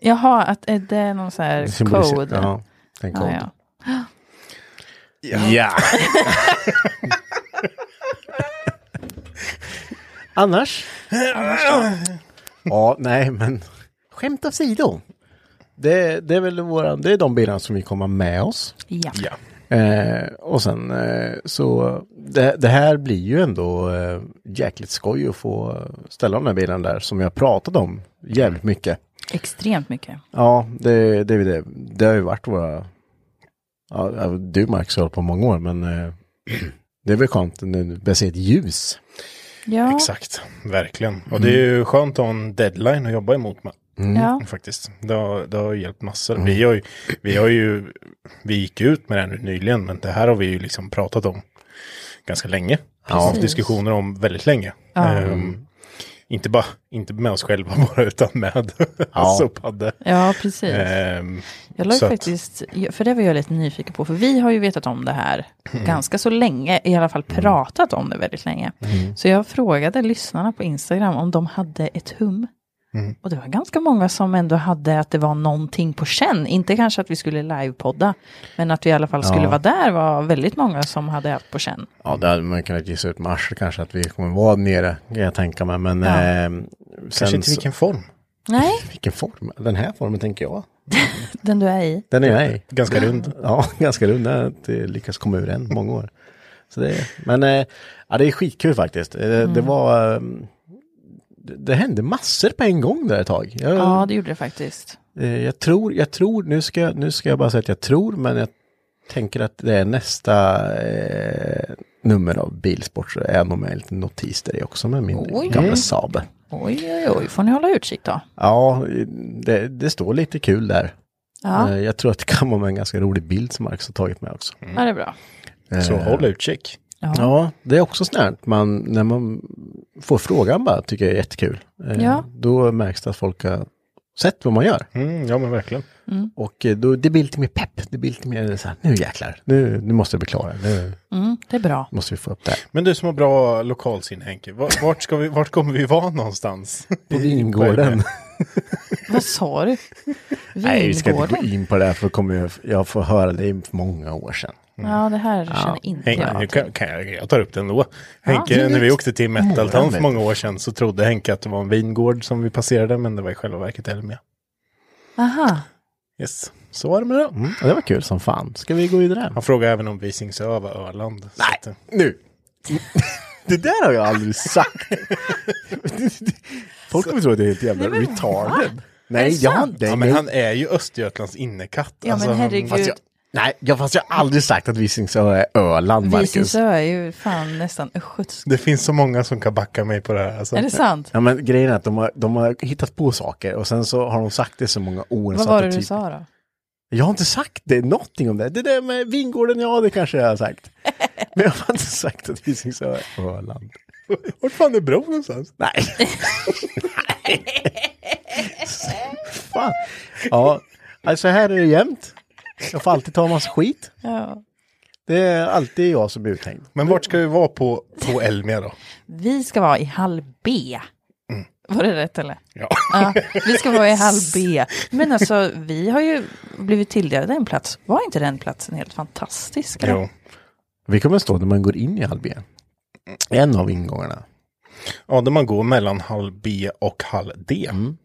Speaker 2: Jaha, att är det är någon sån här
Speaker 1: Symboliserar-
Speaker 2: code.
Speaker 1: Ja, en
Speaker 2: Ja,
Speaker 1: kod.
Speaker 2: ja.
Speaker 1: ja. Annars? ja, nej men skämt åsido. Det, det är väl våra, det är de bilarna som vi kommer med oss.
Speaker 2: Ja.
Speaker 3: Ja.
Speaker 1: Eh, och sen eh, så det, det här blir ju ändå eh, jäkligt skoj att få ställa de där bilarna där som jag har pratat om jävligt mycket.
Speaker 2: Extremt mycket.
Speaker 1: Ja, det, det, är det. det har ju varit våra... Ja, ja, du Marcus har hållit på många år, men eh, det är väl skönt när du börjar se ett ljus.
Speaker 2: Ja,
Speaker 3: Mm. Exakt, verkligen. Och det är ju skönt att ha en deadline att jobba emot med.
Speaker 2: Ja.
Speaker 3: Faktiskt. Det har, det har hjälpt massor. Vi, har ju, vi har ju, vi gick ut med det här nu nyligen, men det här har vi ju liksom pratat om ganska länge. Ja.
Speaker 2: Precis.
Speaker 3: Diskussioner om väldigt länge. Ehm, inte bara, inte med oss själva bara, utan med
Speaker 1: Ja.
Speaker 3: Sopadde.
Speaker 2: Ja, precis.
Speaker 3: Ehm,
Speaker 2: Jag la ju
Speaker 3: så att-
Speaker 2: faktiskt, för det var jag lite nyfiken på, för vi har ju vetat om det här ganska så länge, i alla fall pratat om det väldigt länge. Så jag frågade lyssnarna på Instagram om de hade ett hum. Och det var ganska många som ändå hade att det var någonting på känn, inte kanske att vi skulle livepodda, men att vi i alla fall skulle vara där var väldigt många som hade haft på känn.
Speaker 1: Ja, där hade man kunnat gissa ut mars kanske att vi kommer vara nere, kan jag tänka mig. Men
Speaker 2: Ja.
Speaker 1: eh, sen
Speaker 3: Kanske inte
Speaker 1: så-
Speaker 3: vilken form.
Speaker 2: Nej,
Speaker 1: vilken form? Den här formen tänker jag.
Speaker 2: den du är i.
Speaker 1: Den är jag i.
Speaker 3: Ganska rund.
Speaker 1: Ja, ganska rund. Jag har inte lyckats komma ur den många år. Så det, men eh, ja, det är skitkul faktiskt. Eh,
Speaker 2: Mm.
Speaker 1: Det var... eh, Det, det hände massor på en gång där ett tag. Jag,
Speaker 2: Ja, det gjorde det faktiskt.
Speaker 1: eh, jag tror, jag tror, nu ska, jag- nu ska jag bara säga att jag tror, men jag tänker att det är nästa eh, nummer av Bilsport så är jag nog med en liten notis där i också med min
Speaker 2: Oj.
Speaker 1: gamla Saab.
Speaker 2: Oj, oj, oj, får ni hålla utkik då.
Speaker 1: Ja, det, det står lite kul där.
Speaker 2: Ja,
Speaker 1: Eh, Jag tror att det kan vara med en ganska rolig bild som Marcus har tagit med också.
Speaker 2: ja det är bra.
Speaker 3: Så
Speaker 1: Eh,
Speaker 3: håll utkik.
Speaker 1: Ja, det är också sånt här att man, när man får frågan bara, tycker jag är jättekul. Eh,
Speaker 2: Ja.
Speaker 1: Då märks det att folk har sett vad man gör.
Speaker 3: Mm, ja, men verkligen.
Speaker 1: Och eh, då, det blir lite mer pepp, det blir lite mer så här, nu jäklar, nu, nu måste det bli klara, nu
Speaker 2: Mm, det är bra.
Speaker 1: måste vi få upp det här.
Speaker 3: Men du som har bra lokalsinne Henke, var- vart, ska vi, vart kommer vi vara någonstans?
Speaker 1: På vingården.
Speaker 2: Vad sa du?
Speaker 1: Nej, vi ska inte gå
Speaker 2: Vingården?
Speaker 1: in på det här för då kommer jag, jag får höra det i många år sedan.
Speaker 2: Ja, det här känner inte
Speaker 3: Henke,
Speaker 2: jag.
Speaker 3: nu kan, kan jag, jag tar upp den då. Henke,
Speaker 2: absolut.
Speaker 3: när vi åkte till Metaltown för
Speaker 1: vet
Speaker 3: många år sedan så trodde Henke att det var en vingård som vi passerade, men det var i själva verket Elmia.
Speaker 2: Aha.
Speaker 3: Yes, så var det med det.
Speaker 1: Mm, och det var kul som fan. Ska vi gå vidare?
Speaker 3: Han frågade även om Visingsö var Öland. Så att, eh,
Speaker 1: Nu! Det där har jag aldrig sagt. Folk kommer tro att jag är helt jävla retarded. Nej, jag har inte...
Speaker 3: Ja, men han är ju Östergötlands innekatt. Alltså,
Speaker 2: Ja, men
Speaker 3: han-
Speaker 2: herregud.
Speaker 1: fast jag, nej, jag, fast jag har aldrig sagt att Visingsö är Öland, Marcus.
Speaker 2: Visingsö är ju fan nästan östgötsk.
Speaker 3: det finns så många som kan backa mig på det här. Alltså.
Speaker 2: Är det sant?
Speaker 1: Ja, men grejen är att de har, de har hittat på saker och sen så har de sagt det så många år.
Speaker 2: Vad
Speaker 1: så
Speaker 2: var
Speaker 1: att
Speaker 2: det du
Speaker 1: typ-
Speaker 2: sa då?
Speaker 1: Jag har inte sagt det, någonting om det. Det där med vingården, ja det kanske jag har sagt. Men jag har inte sagt att Visingsö är Öland.
Speaker 3: Vart fan är bron någonstans?
Speaker 1: Nej. Fan. Ja, alltså här är det jämnt. Jag får alltid ta en massa skit.
Speaker 2: Ja.
Speaker 1: Det är alltid jag som blir uthängd.
Speaker 3: Men vart ska vi vara på, på Elmia då?
Speaker 2: Vi ska vara i hall B.
Speaker 1: Mm.
Speaker 2: Var det rätt eller?
Speaker 3: Ja.
Speaker 2: Ja, vi ska vara i hall B. Men alltså, vi har ju blivit tilldelade en plats. Var inte den platsen helt fantastisk? eller?
Speaker 3: Jo.
Speaker 1: Vi kommer stå när man går in i Albien. En av ingångarna.
Speaker 3: Ja, där man går mellan hall B och hall D.
Speaker 1: Mm.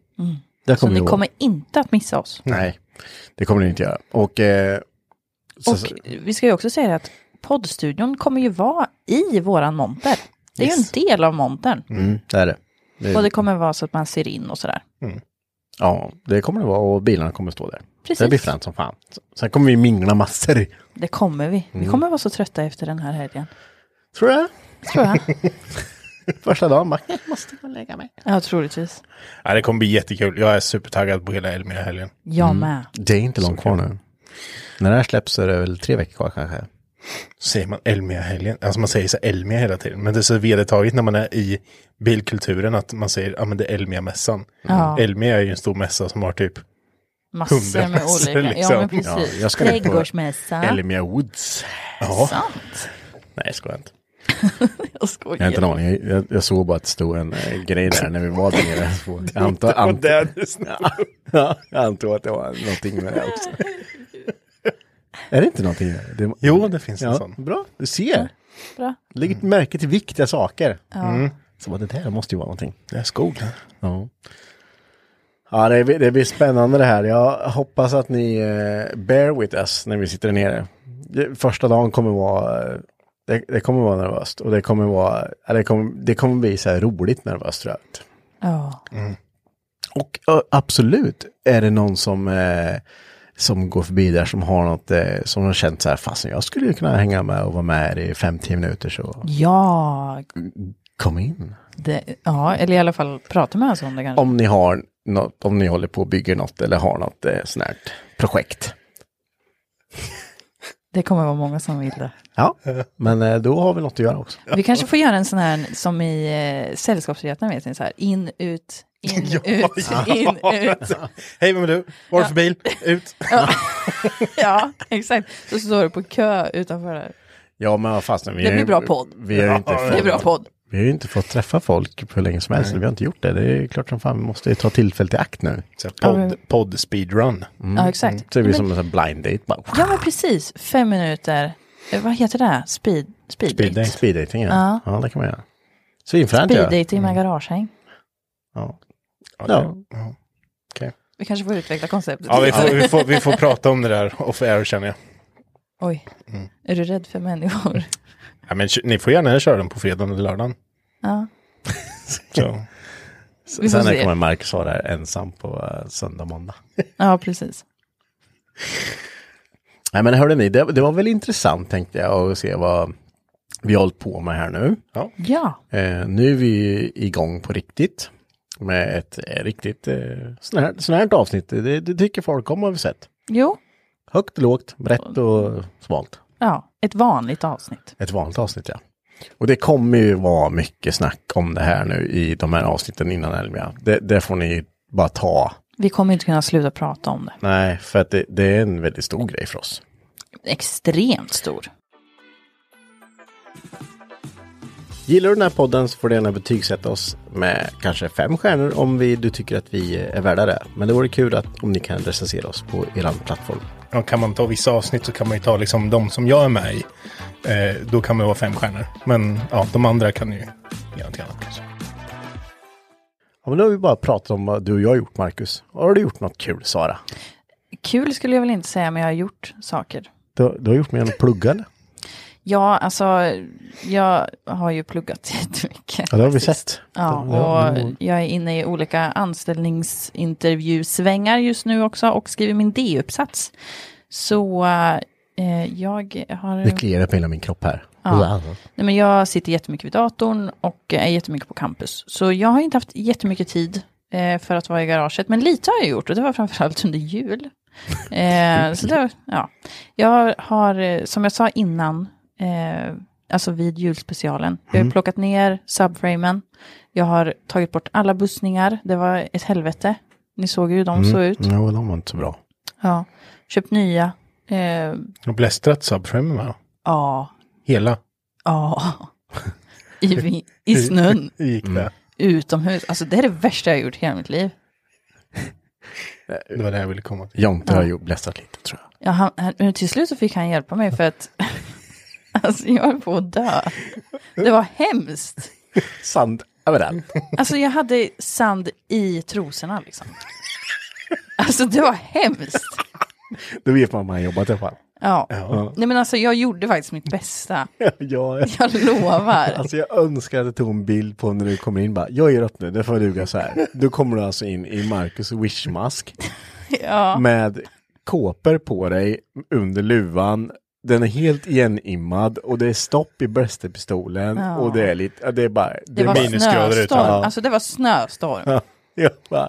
Speaker 1: Där
Speaker 2: Så
Speaker 1: kommer vi
Speaker 2: ni
Speaker 1: gå.
Speaker 2: kommer inte att missa oss.
Speaker 1: Nej, det kommer ni inte göra. Och, eh, så,
Speaker 2: Och
Speaker 1: så,
Speaker 2: vi ska ju också säga att poddstudion kommer ju vara i våran monter. Det är ju en del av montern.
Speaker 1: mm, det är det.
Speaker 2: Och det kommer vara så att man ser in och sådär.
Speaker 1: Ja, det kommer det vara och bilarna kommer stå där.
Speaker 2: Precis.
Speaker 1: Det blir fränt som fan. Sen kommer vi mingla massor.
Speaker 2: Det kommer vi.
Speaker 1: Mm.
Speaker 2: Vi kommer vara så trötta efter den här helgen.
Speaker 1: Tror jag.
Speaker 2: Tror jag.
Speaker 1: Första dagen bara,
Speaker 2: ja, troligtvis.
Speaker 3: Ja, det kommer bli jättekul. Jag är supertaggad på hela Elmia-helgen.
Speaker 2: Jag
Speaker 1: Mm.
Speaker 2: med.
Speaker 1: Det är inte långt kvar nu. När det här släpps så är det väl tre veckor kvar kanske.
Speaker 3: Så säger man Elmia-helgen. Alltså man säger så Elmia hela tiden. Men det är så vedertaget när man är i bilkulturen att man säger, ja men det är Elmia-mässan. Mm.
Speaker 2: Ja.
Speaker 3: Elmia är ju en stor mässa som har typ,
Speaker 2: Massor med
Speaker 3: Hundramässor,
Speaker 2: olika. Ja, men
Speaker 3: liksom.
Speaker 2: precis.
Speaker 1: Ja, jag ska ner på
Speaker 2: Trädgårdsmässa.
Speaker 1: Elmia Woods.
Speaker 3: ja,
Speaker 2: Sant.
Speaker 1: Nej, jag skojar inte.
Speaker 2: Jag
Speaker 1: Jag har inte en
Speaker 2: skojar.
Speaker 1: aning. Jag, jag, jag såg bara att det stod en eh, grej där när vi var där nere. Så Jag antar, ant, ja, jag antog att det var någonting med det också. Är det inte någonting med det?
Speaker 3: Jo, det finns en
Speaker 1: ja,
Speaker 3: sån.
Speaker 1: Bra, du ser.
Speaker 2: Bra.
Speaker 1: Lägg ett märke till viktiga saker. Mm. Så bara, det där måste ju vara någonting.
Speaker 3: det är skog.
Speaker 1: Ja. Ja, det, blir- det blir spännande det här. Jag hoppas att ni eh, bear with us när vi sitter där nere. Det- Första dagen kommer vara, eh, det, det kommer vara nervöst och det kommer vara, ja, det kommer, det kommer bli så här roligt nervöst tror jag.
Speaker 2: Ja.
Speaker 1: Och ö, absolut är det någon som, eh, som går förbi där som har något eh, som har känt så här, fasen jag skulle ju kunna hänga med och vara med här i fem, tio minuter så
Speaker 2: ja,
Speaker 1: Kom in.
Speaker 2: Det, ja, eller i alla fall prata med oss om det kanske.
Speaker 1: Om ni har något, om ni håller på och bygger något eller har något eh, sånt här projekt.
Speaker 2: Det kommer vara många som vill det.
Speaker 1: Ja, men eh, då har vi något att göra också.
Speaker 2: Vi kanske får göra en sån här som i eh, Sällskapsretan, vet ni, så här in, ut, in, ut, in, ut.
Speaker 3: Hej, vem är du? Vad är det för bil? Ut.
Speaker 2: Ja, exakt. Så står du på kö utanför där.
Speaker 1: Ja, men vad fasen. Vi
Speaker 2: Det
Speaker 1: har
Speaker 2: blir
Speaker 1: ju-
Speaker 2: bra podd.
Speaker 1: Vi har ju inte
Speaker 2: Det är
Speaker 1: fått,
Speaker 3: Mm.
Speaker 2: bra podd.
Speaker 1: vi har ju inte fått träffa folk på hur länge som helst. Vi har inte gjort det. Det är klart som fan, vi måste ju ta tillfället i akt nu.
Speaker 3: Så här, Podd, podd speedrun.
Speaker 2: Ja, exakt.
Speaker 1: Mm. Så är vi
Speaker 2: Men-
Speaker 1: som en sån här blind date bara.
Speaker 2: Ja, men precis. Fem minuter. Eh, Vad heter det? Speed, speed,
Speaker 1: Speed,
Speaker 2: date.
Speaker 1: speed dating, ja. ja. det kan man göra. Svinfränt
Speaker 2: Speed
Speaker 1: ju.
Speaker 2: date i
Speaker 3: Mm.
Speaker 2: med garagehäng.
Speaker 1: Ja.
Speaker 3: Ja,
Speaker 1: Ja.
Speaker 3: det- ja.
Speaker 2: Vi kanske får utveckla konceptet.
Speaker 3: ja vi, får, vi, får, vi får prata om det där off air känner jag.
Speaker 2: Oj,
Speaker 3: Mm.
Speaker 2: är du rädd för människor?
Speaker 3: Ja, men, kö- ni får gärna köra den på fredagen eller lördagen.
Speaker 2: Ja.
Speaker 3: Så.
Speaker 2: Vi får
Speaker 1: Sen
Speaker 2: se.
Speaker 1: kommer Marcus vara där ensam på eh, söndag, måndag.
Speaker 2: ja, precis.
Speaker 1: Nej men hörde ni, det, det var väl intressant tänkte jag att se vad vi har hållit på med här nu.
Speaker 2: Ja,
Speaker 1: Eh, nu är vi igång på riktigt med ett eh, riktigt eh, sån här, sån här avsnitt. Det, det tycker folk om har vi sett.
Speaker 2: jo,
Speaker 1: Högt, lågt, brett och smalt.
Speaker 2: ja, ett vanligt avsnitt.
Speaker 1: Ett vanligt avsnitt ja. Och det kommer ju vara mycket snack om det här nu i de här avsnitten innan Elmia. Det, det får ni bara ta.
Speaker 2: Vi kommer inte kunna sluta prata om det.
Speaker 1: Nej, för att det, det är en väldigt stor grej för oss.
Speaker 2: Extremt stor.
Speaker 1: Gillar du den här podden så får du gärna betygsätta oss med kanske fem stjärnor om vi, du tycker att vi är värda det. Men det vore kul att, om ni kan recensera oss på er plattform.
Speaker 3: Ja, kan man ta vissa avsnitt så kan man ju ta liksom de som jag är med i. Eh, då kan man vara fem stjärnor. Men ja, de andra kan ju göra något annat. kanske.
Speaker 1: Ja, men nu har vi bara pratat om vad du och jag har gjort, Marcus. Har du gjort något kul, Sara?
Speaker 2: Kul skulle jag väl inte säga, men jag har gjort saker.
Speaker 1: Du, du har gjort mer än att plugga, eller?
Speaker 2: Ja, alltså, jag har ju pluggat jättemycket.
Speaker 1: Ja, det har vi
Speaker 2: faktiskt.
Speaker 1: sett.
Speaker 2: Ja,
Speaker 1: Det- det har-
Speaker 2: och jag är inne i olika anställningsintervjusvängar just nu också och skriver min D-uppsats. Så eh, jag har...
Speaker 1: Det kliar på hela min kropp här.
Speaker 2: Ja. Nej, men jag sitter jättemycket vid datorn och är jättemycket på campus. Så jag har inte haft jättemycket tid eh, för att vara i garaget. Men lite har jag gjort och det var framförallt under jul. Eh, så det, ja. Jag har, eh, som jag sa innan, eh, alltså vid julspecialen, jag har plockat ner subframen. Jag har tagit bort alla bussningar. Det var ett helvete. Ni såg ju hur de såg ut.
Speaker 1: Ja, de var inte så bra.
Speaker 2: Ja. Köpt nya. Eh,
Speaker 3: Och blästrat subframen va?
Speaker 2: ja,
Speaker 3: Hela.
Speaker 2: ja. I, vi- I snön.
Speaker 3: Hur gick det?
Speaker 2: utomhus. Alltså det är det värsta jag har gjort i hela mitt liv.
Speaker 3: Det var det jag ville komma till.
Speaker 1: Jonte har ju blästrat lite, tror jag.
Speaker 2: Ja, han, han, men till slut så fick han hjälpa mig för att alltså, jag höll på att dö. Det var hemskt.
Speaker 1: Sand överallt.
Speaker 2: Alltså jag hade sand i trosorna liksom. Alltså det var hemskt.
Speaker 1: Då vet man om han jobbat i alla fall.
Speaker 2: Ja. Nej men alltså jag gjorde faktiskt mitt bästa.
Speaker 1: Ja,
Speaker 2: Jag lovar.
Speaker 1: Alltså jag önskar att jag tog en bild på när du kommer in bara, jag ger upp nu, det får duga så här. Då kommer du alltså in i Marcus wishmask
Speaker 2: Ja.
Speaker 1: med kåpor på dig under luvan. Den är helt igenimmad och det är stopp i blästerpistolen
Speaker 2: Ja.
Speaker 1: och det är lite, ja, det är bara,
Speaker 2: Det var
Speaker 3: minusgrader ute.
Speaker 2: snöstorm.
Speaker 3: Ja.
Speaker 2: Alltså det var snöstorm.
Speaker 1: jag bara,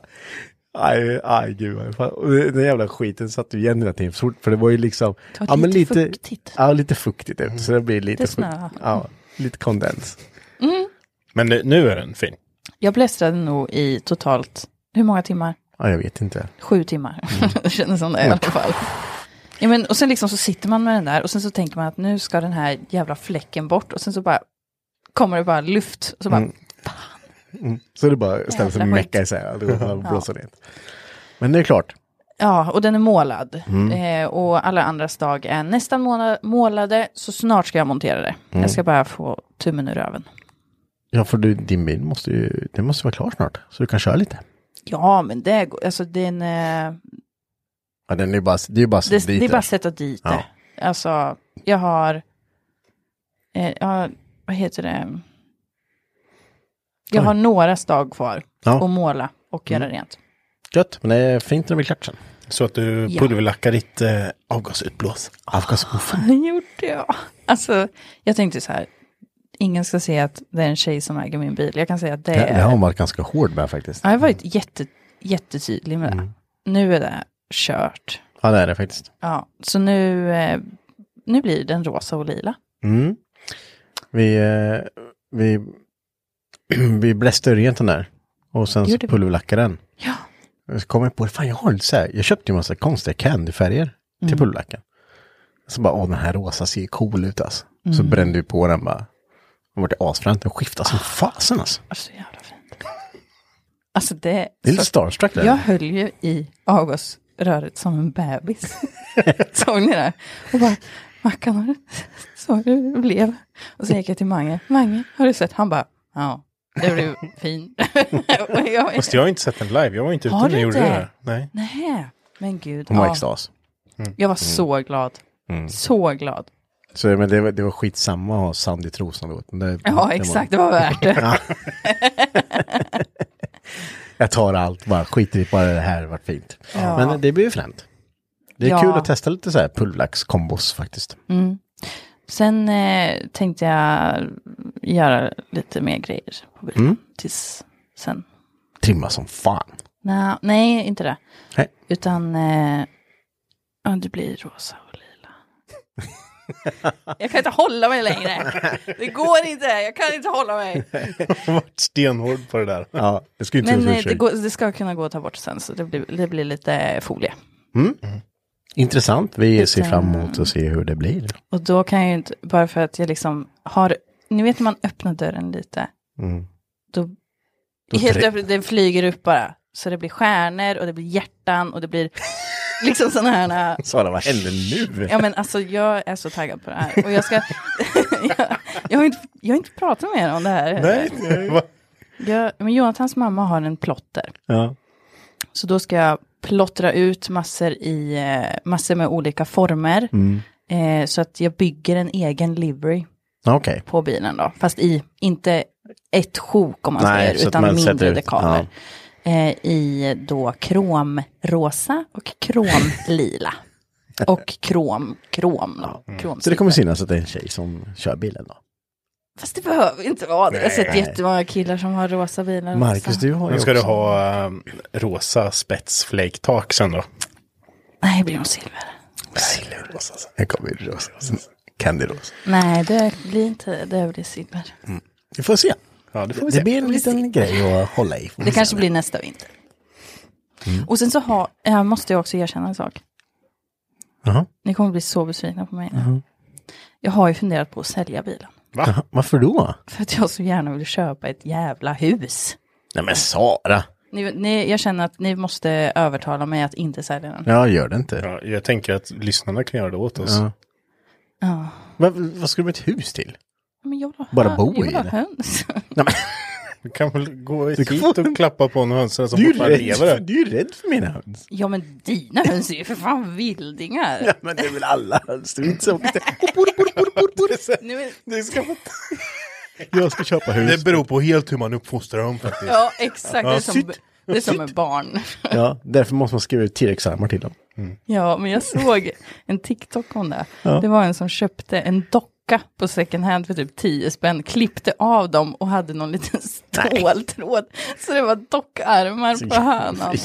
Speaker 1: aj, aj gud vad fan. Och den jävla skiten satt ju igen hela tiden, så fort- för det var ju liksom,
Speaker 2: Det var
Speaker 1: ja men
Speaker 2: lite
Speaker 1: lite,
Speaker 2: fuktigt.
Speaker 1: ja lite fuktigt ut, så det blir lite,
Speaker 2: Det
Speaker 1: fukt-
Speaker 2: snöar.
Speaker 1: ja, lite kondens.
Speaker 3: Men nu, nu är den fin.
Speaker 2: Jag blästrade nog i totalt, hur många timmar?
Speaker 1: Ja, jag vet inte.
Speaker 2: sju timmar. det kändes som det i alla fall. Ja, men, och sen liksom så sitter man med den där och sen så tänker man att nu ska den här jävla fläcken bort och sen så bara kommer det bara luft. Och så bara,
Speaker 1: Så det bara ställer sig och
Speaker 2: Jävla skit.
Speaker 1: meckar isär allt och blåser ner. Men det är klart,
Speaker 2: Ja, och den är målad. Eh, och alla andras dag är nästan måla- målade, så snart ska jag montera det. Jag ska bara få tummen ur röven.
Speaker 1: ja för du, din bil måste ju, den måste vara klar snart. Så du kan köra lite.
Speaker 2: Ja, men det går, alltså den, eh,
Speaker 1: Ja, den är ju bara, det är ju bara så
Speaker 2: det,
Speaker 1: dit
Speaker 2: det är
Speaker 1: där.
Speaker 2: bara att sätta dit det. Alltså, jag har, eh, jag har, vad heter det? Jag har några stag kvar
Speaker 1: Ja. Mm.
Speaker 2: att måla och göra rent.
Speaker 1: Gött, men det är fint när det blir klart sen.
Speaker 3: Så att du
Speaker 2: Ja.
Speaker 3: pulverlackar ditt eh, avgasutblås.
Speaker 1: Avgasmuffen.
Speaker 2: Det gjorde jag. Alltså, jag tänkte så här, ingen ska se att det är en tjej som äger min bil. Jag kan säga att det,
Speaker 1: Det, det har
Speaker 2: är...
Speaker 1: hon varit ganska hård med faktiskt.
Speaker 2: Eh. Ja, jag har varit jätte, jättetydlig med det.
Speaker 1: Mm.
Speaker 2: Nu är det kört.
Speaker 1: Ja, det är det faktiskt.
Speaker 2: Ja, så nu, eh, nu blir den rosa och lila.
Speaker 1: Mm. Vi, eh, vi, vi bläste rent den där. Och sen så
Speaker 2: Gjorde vi.
Speaker 1: pulverlackade den.
Speaker 2: Ja.
Speaker 1: Och Så kom jag på, fan jag har lite så här, jag köpte ju en massa konstiga candyfärger
Speaker 2: Mm.
Speaker 1: till pulverlacken. Så bara, åh den här rosa ser ju cool ut alltså. Så
Speaker 2: Mm.
Speaker 1: brände vi på den bara. Den vart asfränt, den skiftade
Speaker 2: Ah.
Speaker 1: som fasen alltså.
Speaker 2: Alltså, så jävla fint. Alltså det...
Speaker 1: Det är lite starstruck där.
Speaker 2: Jag höll ju i avgasröret som en bebis. Såg ni det? Och bara, Mackan, har du, såg du hur det blev? Och sen gick jag till Mange. Mange, har du sett? Han bara, ja, det blev fin. Och jag-
Speaker 3: Fast jag har inte sett den live. Jag var inte ute
Speaker 2: Har
Speaker 3: när
Speaker 2: du
Speaker 3: jag gjorde det
Speaker 2: inte?
Speaker 3: där. Nej.
Speaker 2: Nej, men gud.
Speaker 1: Hon var Mm. i
Speaker 2: ja.
Speaker 1: extas.
Speaker 2: Jag var så glad. Så glad.
Speaker 1: Så men det, var- det var skitsamma att ha sand i trosan då. utan Det, det
Speaker 2: Ja,
Speaker 1: var-
Speaker 2: exakt, det var värt det.
Speaker 1: Jag tar allt, bara skiter i bara det här, vart fint. Men det blir ju fränt. Det är
Speaker 2: Ja.
Speaker 1: kul att testa lite så här pulverlackskombos faktiskt.
Speaker 2: Mm. Sen eh, tänkte jag göra lite mer grejer
Speaker 1: Mm.
Speaker 2: på bilen. Tills sen.
Speaker 1: Trimma som fan.
Speaker 2: Nå, nej, inte det.
Speaker 1: Nej.
Speaker 2: Utan eh, ja, det blir rosa och lila. jag kan inte hålla mig längre. Det går inte. Jag kan inte hålla mig.
Speaker 3: Jag har varit stenhård på det där.
Speaker 1: Ja, det ska ju inte
Speaker 2: Men
Speaker 1: vara
Speaker 2: eh,
Speaker 1: så
Speaker 2: det,
Speaker 1: går...
Speaker 2: går, det ska kunna gå att ta bort sen. Så det blir, det blir lite folie.
Speaker 1: Intressant, vi ser
Speaker 2: Lite-
Speaker 1: fram emot att se hur det blir.
Speaker 2: Och då kan jag ju inte, bara för att jag liksom har, ni vet när man öppnar dörren lite.
Speaker 1: Mm.
Speaker 2: Då,
Speaker 1: Då
Speaker 2: helt
Speaker 1: tre-
Speaker 2: öppet, det flyger upp bara. Så det blir stjärnor och det blir hjärtan och det blir liksom sådana här
Speaker 1: Sara, vad händer nu?
Speaker 2: Ja men alltså jag är så taggad på det här. Och jag ska... jag, jag, har inte, jag har inte pratat med er om det här.
Speaker 3: Nej, va?
Speaker 2: Jag, men Jonathans mamma har en plotter.
Speaker 1: Ja.
Speaker 2: Så då ska jag plottra ut massor, i, eh, massor med olika former.
Speaker 1: Mm.
Speaker 2: Eh, så att jag bygger en egen livery
Speaker 1: Okej,
Speaker 2: på bilen då. Fast i, inte ett sjok om man
Speaker 1: Nej, så
Speaker 2: säger,
Speaker 1: att
Speaker 2: utan
Speaker 1: man sätter
Speaker 2: mindre
Speaker 1: ut-
Speaker 2: dekaler. Eh, I då kromrosa och kromlila. och krom, krom då. Krom
Speaker 1: så det kommer synas att det är en tjej som kör bilen då.
Speaker 2: Fast det behöver inte vara det. Jag har sett
Speaker 1: Nej.
Speaker 2: jättemånga killar som har rosa bilar.
Speaker 1: Marcus,
Speaker 2: också.
Speaker 1: du har ju
Speaker 3: Men ska du
Speaker 1: också-
Speaker 3: ha ehm, rosa spetsflake-tak sen då?
Speaker 2: Nej, det blir nog silver.
Speaker 1: Här kommer ju rosa. Candy rosa.
Speaker 2: Nej, det blir inte det. blir silver.
Speaker 1: Vi får se.
Speaker 3: Ja, det får vi
Speaker 1: Det
Speaker 3: se.
Speaker 1: blir en liten grej att hålla i. får vi
Speaker 2: Det
Speaker 1: se.
Speaker 2: kanske blir nästa vinter.
Speaker 1: Mm.
Speaker 2: Och sen så har, jag måste jag också erkänna en sak.
Speaker 1: Jaha.
Speaker 2: Ni kommer bli så besvikna på mig nu.
Speaker 1: Mm.
Speaker 2: Jag har ju funderat på att sälja bilen.
Speaker 1: Jaha, Varför då?
Speaker 2: För att jag så gärna vill köpa ett jävla hus.
Speaker 1: Nej men Sara.
Speaker 2: Ni, ni, jag känner att ni måste övertala mig att inte sälja den.
Speaker 1: Ja, gör det inte.
Speaker 3: Ja, jag tänker att lyssnarna kan göra det åt oss.
Speaker 1: Ja.
Speaker 2: Ja.
Speaker 1: Vad, vad ska du med ett hus till?
Speaker 2: Men jag vill ha,
Speaker 1: Bara bo
Speaker 2: jag vill
Speaker 1: i
Speaker 2: ha
Speaker 1: det.
Speaker 2: höns.
Speaker 1: Nej, men,
Speaker 3: Du kan väl gå
Speaker 1: Du
Speaker 3: hit
Speaker 1: kan få-
Speaker 3: och klappa på en hönsen som
Speaker 1: du, är
Speaker 3: fortfarande
Speaker 1: ju
Speaker 3: lever.
Speaker 1: rädd, du är ju rädd för mina höns.
Speaker 2: Ja men dina höns är ju för fan vildingar.
Speaker 1: Ja, men det är väl alla höns. Du är inte så...
Speaker 2: Nu är-
Speaker 3: Det, ska man...
Speaker 1: Jag ska köpa hus.
Speaker 3: det beror på helt hur man uppfostrar dem faktiskt.
Speaker 2: Ja exakt, det är som,
Speaker 1: sitt.
Speaker 2: det är som ett barn.
Speaker 1: Ja, därför måste man skriva ut T-rex-armar till dem.
Speaker 2: Ja men jag såg en TikTok om det. Det var en som köpte en docka på second hand för typ 10 spänn, klippte av dem och hade någon liten ståltråd. Så det var dockarmar på hönan.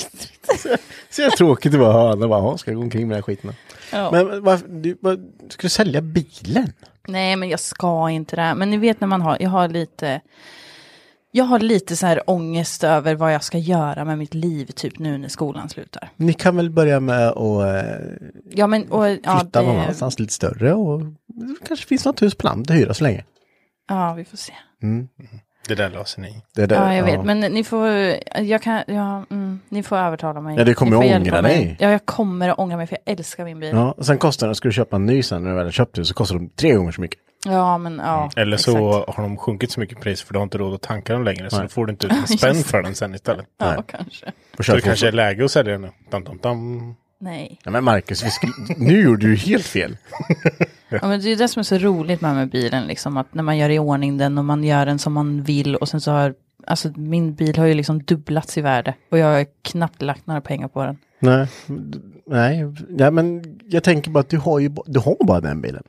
Speaker 1: Så jävla tråkigt att vara höna och bara, "Jaha, ska jag gå omkring med den här skiten?
Speaker 2: Ja.
Speaker 1: Men varför, du, vad, ska du sälja bilen?
Speaker 2: Nej men jag ska inte det. här. Men ni vet när man har, jag har lite, jag har lite så här ångest över vad jag ska göra med mitt liv typ nu när skolan slutar.
Speaker 1: Ni kan väl börja med att eh,
Speaker 2: Ja men och, ja,
Speaker 1: flytta någon
Speaker 2: det,
Speaker 1: annanstans lite större och det kanske finns något hus på land att hyra så länge.
Speaker 2: ja vi får se.
Speaker 3: Det där löser ni.
Speaker 1: Det är det,
Speaker 2: Ja, jag vet. Men ni får, jag kan, ja, mm, ni får övertala mig.
Speaker 1: Ja, du kommer
Speaker 2: Ni får
Speaker 1: att
Speaker 2: hjälpa
Speaker 1: ångra
Speaker 2: mig.
Speaker 1: dig.
Speaker 2: Ja, jag kommer att ångra mig för jag älskar min bil. Ja,
Speaker 1: Ja, och sen kostar den, ska du köpa en ny sen när du väl har köpt hus, så kostar de tre gånger så mycket.
Speaker 2: men
Speaker 1: Mm.
Speaker 2: ja.
Speaker 3: Eller så
Speaker 2: exakt.
Speaker 3: har de sjunkit så mycket i pris för du har inte råd att tanka dem längre. Så
Speaker 1: Nej.
Speaker 3: då får du inte ut en spänn för den sen istället.
Speaker 2: Ja, kanske.
Speaker 1: Och
Speaker 3: Så
Speaker 1: köper
Speaker 3: det kanske är läge att sälja den nu. Dam, dam, dam.
Speaker 2: Nej.
Speaker 1: Nej men Marcus, vi skulle... nu gjorde du ju helt fel.
Speaker 2: Ja, men det är det som är så roligt med, med bilen, liksom, att när man gör i ordning den och man gör den som man vill och sen så har, alltså min bil har ju liksom dubblats i värde och jag har knappt lagt några pengar på den.
Speaker 1: Nej, nej, nej men jag tänker bara att du har ju ba- du har bara den bilen.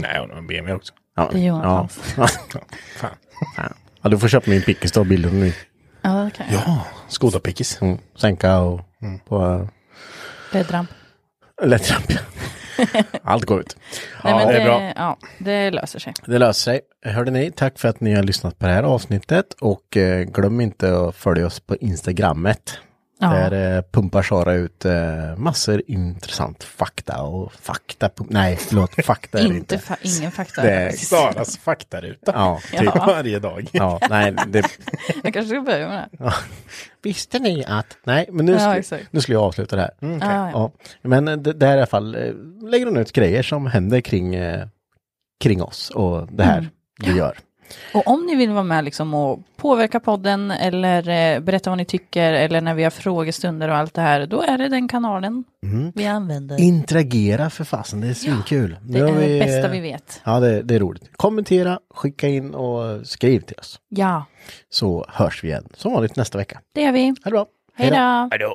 Speaker 3: Nej, hon har en BMW också.
Speaker 1: Ja.
Speaker 2: Det är Jonathans.
Speaker 1: Ja.
Speaker 3: Fan.
Speaker 1: Fan. ja, du får köpa min pickis då, bilden nu.
Speaker 2: Ja, det kan jag.
Speaker 3: Ja, Skoda-pickis.
Speaker 1: Mm. Sänka och på uh,
Speaker 2: Ledramp.
Speaker 1: lättramp. Allt går ut.
Speaker 2: Nej,
Speaker 1: Ja,
Speaker 2: men
Speaker 1: det är bra.
Speaker 2: Ja, det löser sig.
Speaker 1: Det löser sig. Hörde ni, tack för att ni har lyssnat på det här avsnittet och eh, glöm inte att följa oss på Instagrammet.
Speaker 2: Ja.
Speaker 1: Där eh, pumpar Sara ut eh, massor intressant fakta och fakta. pum- Nej, förlåt, fakta är det
Speaker 2: Inte
Speaker 1: inte.
Speaker 2: fa- ingen fakta.
Speaker 1: Det är-
Speaker 3: Saras faktaruta.
Speaker 1: Ja, typ.
Speaker 3: Varje dag.
Speaker 1: Ja, nej, det,
Speaker 2: Jag kanske ska börja med det.
Speaker 1: Visste ni att? Nej, men nu,
Speaker 2: Ja,
Speaker 1: skulle,
Speaker 2: exakt.
Speaker 1: nu skulle jag avsluta det här.
Speaker 2: Ah, ja.
Speaker 1: Ja, men eh, det, det här i alla fall eh, lägger hon ut grejer som händer kring, eh, kring oss och det här
Speaker 2: Mm.
Speaker 1: vi gör.
Speaker 2: Och om ni vill vara med liksom och påverka podden eller eh, berätta vad ni tycker eller när vi har frågestunder och allt det här, då är det den kanalen vi använder.
Speaker 1: Interagera för fasen, det är svinkul.
Speaker 2: det
Speaker 1: Nu har
Speaker 2: är det bästa
Speaker 1: eh,
Speaker 2: vi vet.
Speaker 1: Ja, det, det är roligt. Kommentera, skicka in och skriv till oss.
Speaker 2: Ja,
Speaker 1: Så hörs vi igen som vanligt nästa vecka.
Speaker 2: det är vi.
Speaker 1: Ha det bra.
Speaker 2: Hej då!